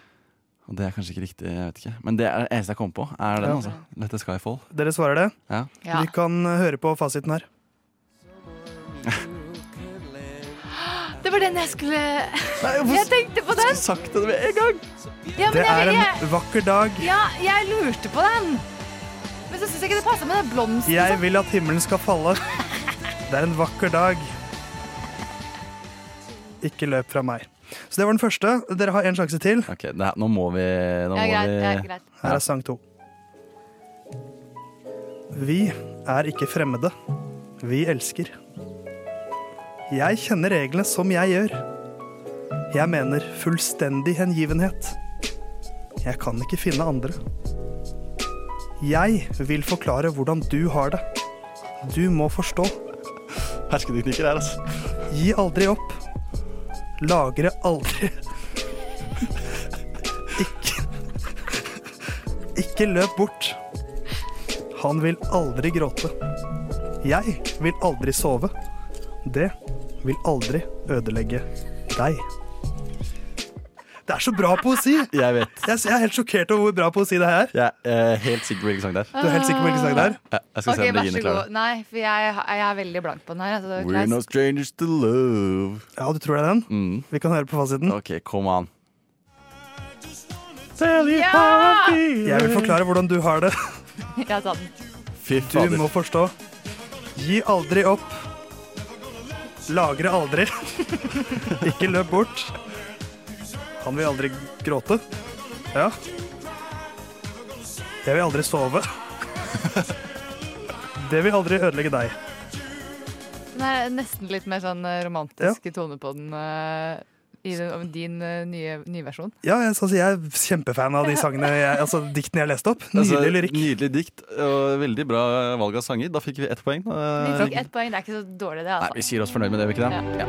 S22: Og det er kanskje ikke riktig, jeg vet ikke. Men det er det eneste jeg kom på. Er den,
S3: Ja.
S22: altså. Let the sky fall.
S3: Dere svarer det?
S22: Ja. Ja.
S3: Vi kan høre på fasiten her.
S22: Det var den jeg skulle
S12: Jeg tenkte på den!
S22: Sagt det med en gang!
S12: Ja, men
S3: det
S12: jeg,
S3: er
S12: jeg,
S3: en vakker dag.
S12: ja, jeg lurte på den. Men så syns jeg ikke det passa med den blomsten.
S3: Jeg vil at himmelen skal falle. Det er en vakker dag. Ikke løp fra meg. Så det var den første. Dere har en sjanse til.
S22: Ok, det her, Nå må vi nå
S3: Ja,
S22: må
S3: greit,
S22: vi...
S3: ja, greit. Her er sang to. Vi er ikke fremmede. Vi elsker. Jeg kjenner reglene som jeg gjør. Jeg mener fullstendig hengivenhet. Jeg kan ikke finne andre. Jeg vil forklare hvordan du har det. Du må forstå.
S22: Hersketeknikker her, altså.
S3: Gi aldri opp. Lagre aldri. Ikke Ikke løp bort. Han vil aldri gråte. Jeg vil aldri sove. Det vil aldri ødelegge deg. Det er så bra poesi!
S22: Jeg vet.
S3: Jeg er helt sjokkert over hvor bra poesi det her er.
S22: Jeg er helt sikker på hvilken sang det er.
S3: Du er helt sikker på hvilken sang det er?
S22: Ja, jeg skal se
S12: Ok,
S22: om
S12: vær
S22: Regine
S12: så
S22: klarer
S12: god.
S22: det.
S12: Nei, for jeg, jeg er veldig blank på den her. altså,
S22: We're
S12: Klaus.
S22: no strangers to love. Mm.
S3: Ja, du tror det er den? Vi kan høre på fasiten.
S22: Ok, come on.
S12: Ja!
S3: Jeg vil forklare hvordan du har det.
S12: Jeg tar den.
S22: Fy
S3: Du må forstå. Gi aldri opp. Lagre aldri. Ikke løp bort. Han vil aldri gråte. Ja. Jeg vil aldri sove. Det vil aldri ødelegge deg.
S12: Den er nesten litt mer sånn eh, romantisk tone på den eh, i den, din eh, nye, nye versjon.
S3: Ja, jeg, altså, jeg er kjempefan av de sangene jeg, altså, diktene jeg leste opp.
S22: Altså,
S3: Nydelig lyrikk.
S22: Nydelig dikt og veldig bra valg av sanger. Da fikk vi ett poeng.
S12: Vi
S22: Eh,
S12: fikk ett poeng, det er ikke så dårlig det,
S22: Nei,
S12: altså.
S22: vi sier oss fornøyd med det, gjør vi ikke det?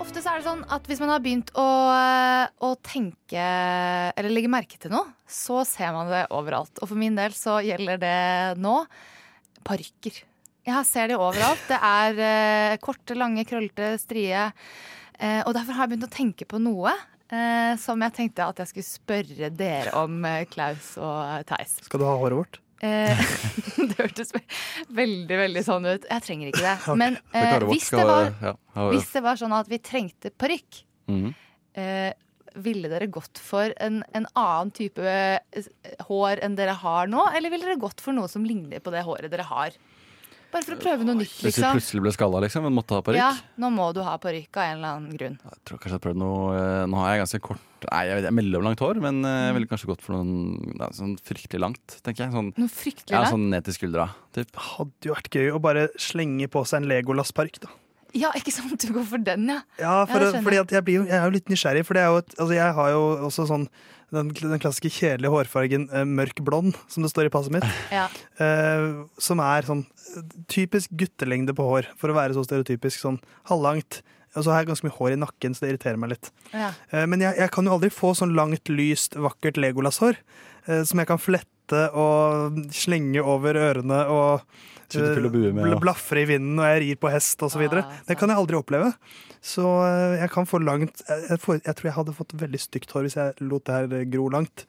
S12: Ofte så er det sånn at hvis man har begynt å, eh, å tenke eller legge merke til noe, så ser man det overalt. Og for min del så gjelder det nå parykker. Jeg ser de overalt. Det er eh, korte, lange, krøllete, strie. Eh, og derfor har jeg begynt å tenke på noe eh, som jeg tenkte at jeg skulle spørre dere om, eh, Klaus og Theis.
S3: Skal du ha håret vårt?
S12: Eh, det hørtes ve- veldig veldig sånn ut. Jeg trenger ikke det.
S22: Ok.
S12: Men
S22: Det
S12: eh,
S22: klarer vårt
S12: hvis,
S22: skal
S12: det var,
S22: være- ja, ha-
S12: hvis det var sånn at vi trengte parykk,
S22: Mhm.
S12: eh, ville dere gått for en, en annen type eh, hår enn dere har nå? Eller ville dere gått for noe som ligner på det håret dere har? Bare for å prøve noe nytt,
S22: Hvis vi
S12: liksom.
S22: plutselig ble skalla, liksom, men måtte ha parykk.
S12: Ja, nå må du ha parykk av en eller annen grunn.
S22: Jeg tror kanskje jeg prøvde noe eh, Nå har jeg ganske kort Nei, jeg vet ikke, mellomlangt hår, men eh, jeg ville kanskje gått for noe nei, sånn fryktelig langt, tenker jeg. Sånn,
S12: Noe fryktelig
S22: ja,
S12: langt?
S22: sånn ned til skuldra. Typ.
S3: Hadde jo vært gøy å bare slenge på seg en Legolas-park, da.
S12: Ja, ikke sant? Du går for den, ja.
S3: Ja, for,
S12: det skjønner
S3: fordi
S12: jeg.
S3: at jeg, blir jo, jeg er jo litt nysgjerrig, for det er jo et, altså jeg har jo også sånn den, den klassiske kjedelige hårfargen eh, mørk blond, som det står i passet mitt.
S12: Ja.
S3: eh, som er sånn eh, typisk guttelengde på hår, for å være så stereotypisk. Sånn halvlangt. Og så har jeg ganske mye hår i nakken, så det irriterer meg litt.
S12: Ja.
S3: Eh, Men jeg, jeg kan jo aldri få sånn langt, lyst, vakkert Legolas-hår eh, som jeg kan flette og slenge over ørene og
S22: Skyte pil og bue med,
S3: eh,
S22: ja.
S3: blafre i vinden når jeg rir på hest
S12: Ah,
S3: osv. videre det kan jeg aldri oppleve. Så eh, jeg kan få langt jeg, jeg, får, jeg tror jeg hadde fått veldig stygt hår hvis jeg lot det her eh, gro langt.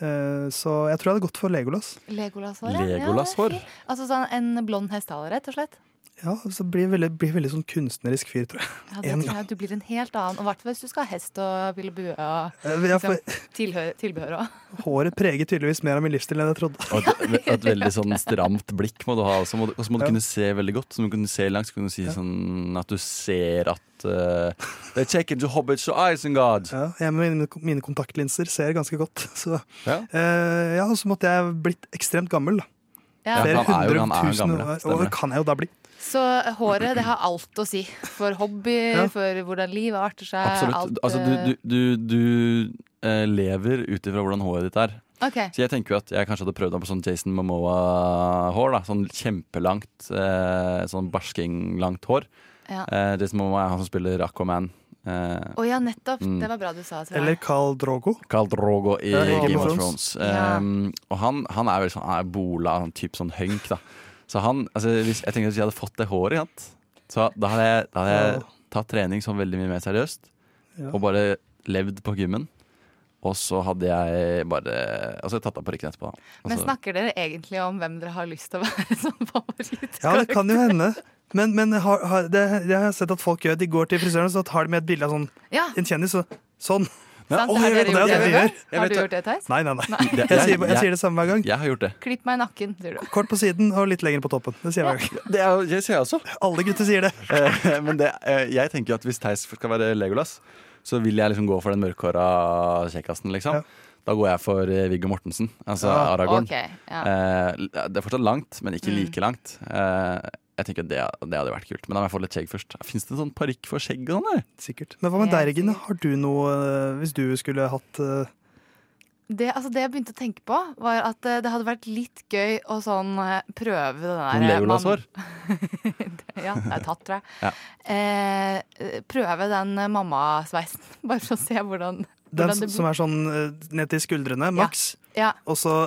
S3: Eh, Så jeg tror jeg hadde gått for Legolas.
S12: Legolas-hår. ja.
S3: Legolas-hår?
S12: Ja, det er fint. altså sånn en blond hestehale, rett og slett.
S3: Ja, så blir jeg veldig, blir veldig sånn kunstnerisk fyr, tror jeg.
S12: Ja, det
S3: En
S12: tror jeg du blir en helt annen. Og i hvert fall hvis du skal ha hest og ville bue og
S3: Eh, ja,
S12: liksom,
S3: for-
S12: tilhø- tilbehør òg.
S3: gang. Håret preger tydeligvis mer av min livsstil enn jeg trodde.
S22: Og et, ve- et veldig sånn stramt blikk må du ha, og så må du, og så må du kunne se veldig godt. Så må du kunne se langt, så kan du si sånn at du ser at eh, They take into hobbits to Isengard.
S3: Ja, jeg med mine, mine kontaktlinser ser ganske godt. Så
S22: Ja.
S3: eh, ja, og så måtte jeg blitt ekstremt gammel, da.
S12: Ja.
S3: Flere
S22: Ja, han er jo-
S3: hundre
S22: han er jo
S3: tusen
S22: gammel, ja.
S3: år.
S22: Stemmer
S3: Og
S22: det.
S3: det kan jeg jo da bli.
S12: Så håret, det har alt å si. For hobby, for hvordan livet arter seg.
S22: Absolutt.
S12: Alt, eh,
S22: Altså, du du, du, du eh, lever ut ifra hvordan håret ditt er.
S12: Ok.
S22: Så jeg tenker jo at jeg kanskje hadde prøvd meg på sånn Jason Momoa-hår. da Sånn kjempelangt, eh, sånn barsking-langt hår.
S12: Ja.
S22: Eh, Jason Momoa er han som spiller Aquaman. Eh,
S12: Å ja, nettopp.
S22: Mm.
S12: Det var bra du sa. Tror jeg.
S3: Eller Carl Drogo.
S22: Carl Drogo i
S3: Ja,
S22: Game of Thrones. Um, og han, han er vel sånn han er bola, sånn type sånn hunk, da. Så han altså, hvis, Jeg tenker at hvis jeg hadde fått det håret, ikke sant? så da hadde jeg, da hadde jeg tatt trening sånn veldig mye mer seriøst.
S3: Ja.
S22: Og bare levd på gymmen. Og så hadde jeg bare Og så hadde jeg tatt av parykken etterpå.
S12: Men
S22: Altså,
S12: snakker dere egentlig om hvem dere har lyst til å være som favoritt?
S3: Ja, det kan jo hende. Men, men har, har, det, det har jeg sett at folk gjør. De går til frisøren og så tar de med et bilde av sånn,
S12: Ja.
S3: en kjendis. Og, sånn. Å,
S12: Sant, det har
S3: jeg vet-
S12: dere gjort
S3: er
S12: det
S3: de
S12: før?
S3: Jeg
S12: Har
S3: vet
S12: du
S3: det.
S12: gjort det, Theis?
S3: Nei, nei, nei.
S22: Det-
S3: Jeg sier,
S22: jeg-
S3: jeg sier det samme hver gang.
S22: jeg har gjort det.
S12: Klipp meg i nakken, sier du.
S3: Kort på siden og litt lenger på toppen. Det sier jeg hver gang.
S22: Det er, det sier jeg også.
S3: Alle gutter sier det.
S22: Eh, Men det, eh, jeg tenker jo at hvis Theis skal være Legolas, så vil jeg liksom gå for den mørkhåra kjekkasen, liksom. Da går jeg for eh, Viggo Mortensen, altså
S12: Ja.
S22: Aragorn.
S12: Ok, ja.
S22: Eh, Det er fortsatt langt, men ikke
S12: Mm.
S22: like langt. Eh, Jeg tenker at det, det hadde vært kult, men da må jeg få litt skjegg først. Fins det en sånn parykk for skjegg og sånn?
S3: Sikkert. Men hva med deg, Regine? Har du noe eh, Hvis du skulle hatt eh,
S12: Det, altså det jeg begynte å tenke på, var at eh, det hadde vært litt gøy å sånn eh, prøve den der
S3: Sånn
S12: eh,
S22: Noen Legolas-hår?
S12: Det- ja, det er tatt, tror jeg.
S22: Ja.
S12: Eh, eh, prøve den eh, mammasveisen, bare for å se hvordan, hvordan
S3: den
S12: det
S3: som er sånn eh, ned til skuldrene, maks?
S12: Ja.
S3: Og så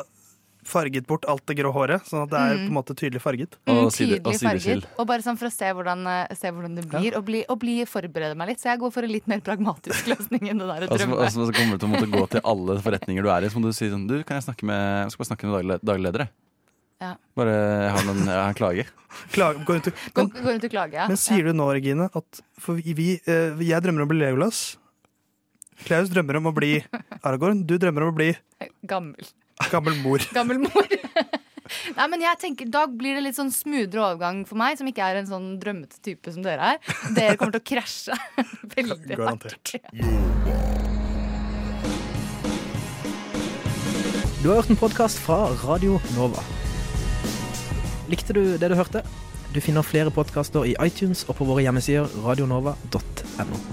S3: farget bort alt det grå håret, sånn at det er på en måte tydelig farget.
S12: Mm, tydelig farget. Og bare sånn for å se hvordan, eh, se hvordan det blir, og, bli, og bli, forberede meg litt. Så jeg går for en litt mer pragmatisk løsning enn det der
S22: Altså,
S12: å
S4: Og så
S12: drømme.
S4: og så kommer du til å måtte gå til alle forretninger du er i, så må du si sånn Du, kan jeg snakke med Jeg skal bare snakke med daglig- dagledere.
S12: Ja.
S4: Bare jeg har noen, jeg har en klage.
S3: Klage, går rundt og-
S12: Gå, gå rundt og klage, ja.
S3: Men sier du nå, Regine, at for vi, vi, eh, jeg drømmer om å bli Legolas. Klaus drømmer om å bli Aragorn. Du drømmer om å bli
S12: Gammel.
S3: gammel mor.
S12: Gammel mor. Nei, men jeg tenker, Da blir det litt sånn smoothere overgang for meg, som ikke er en sånn drømmete type som dere er. Dere kommer til å krasje veldig hardt.
S11: Du har hørt en podkast fra Radio Nova. Likte du det du hørte? Du finner flere podkaster i iTunes og på våre hjemmesider radionova.no.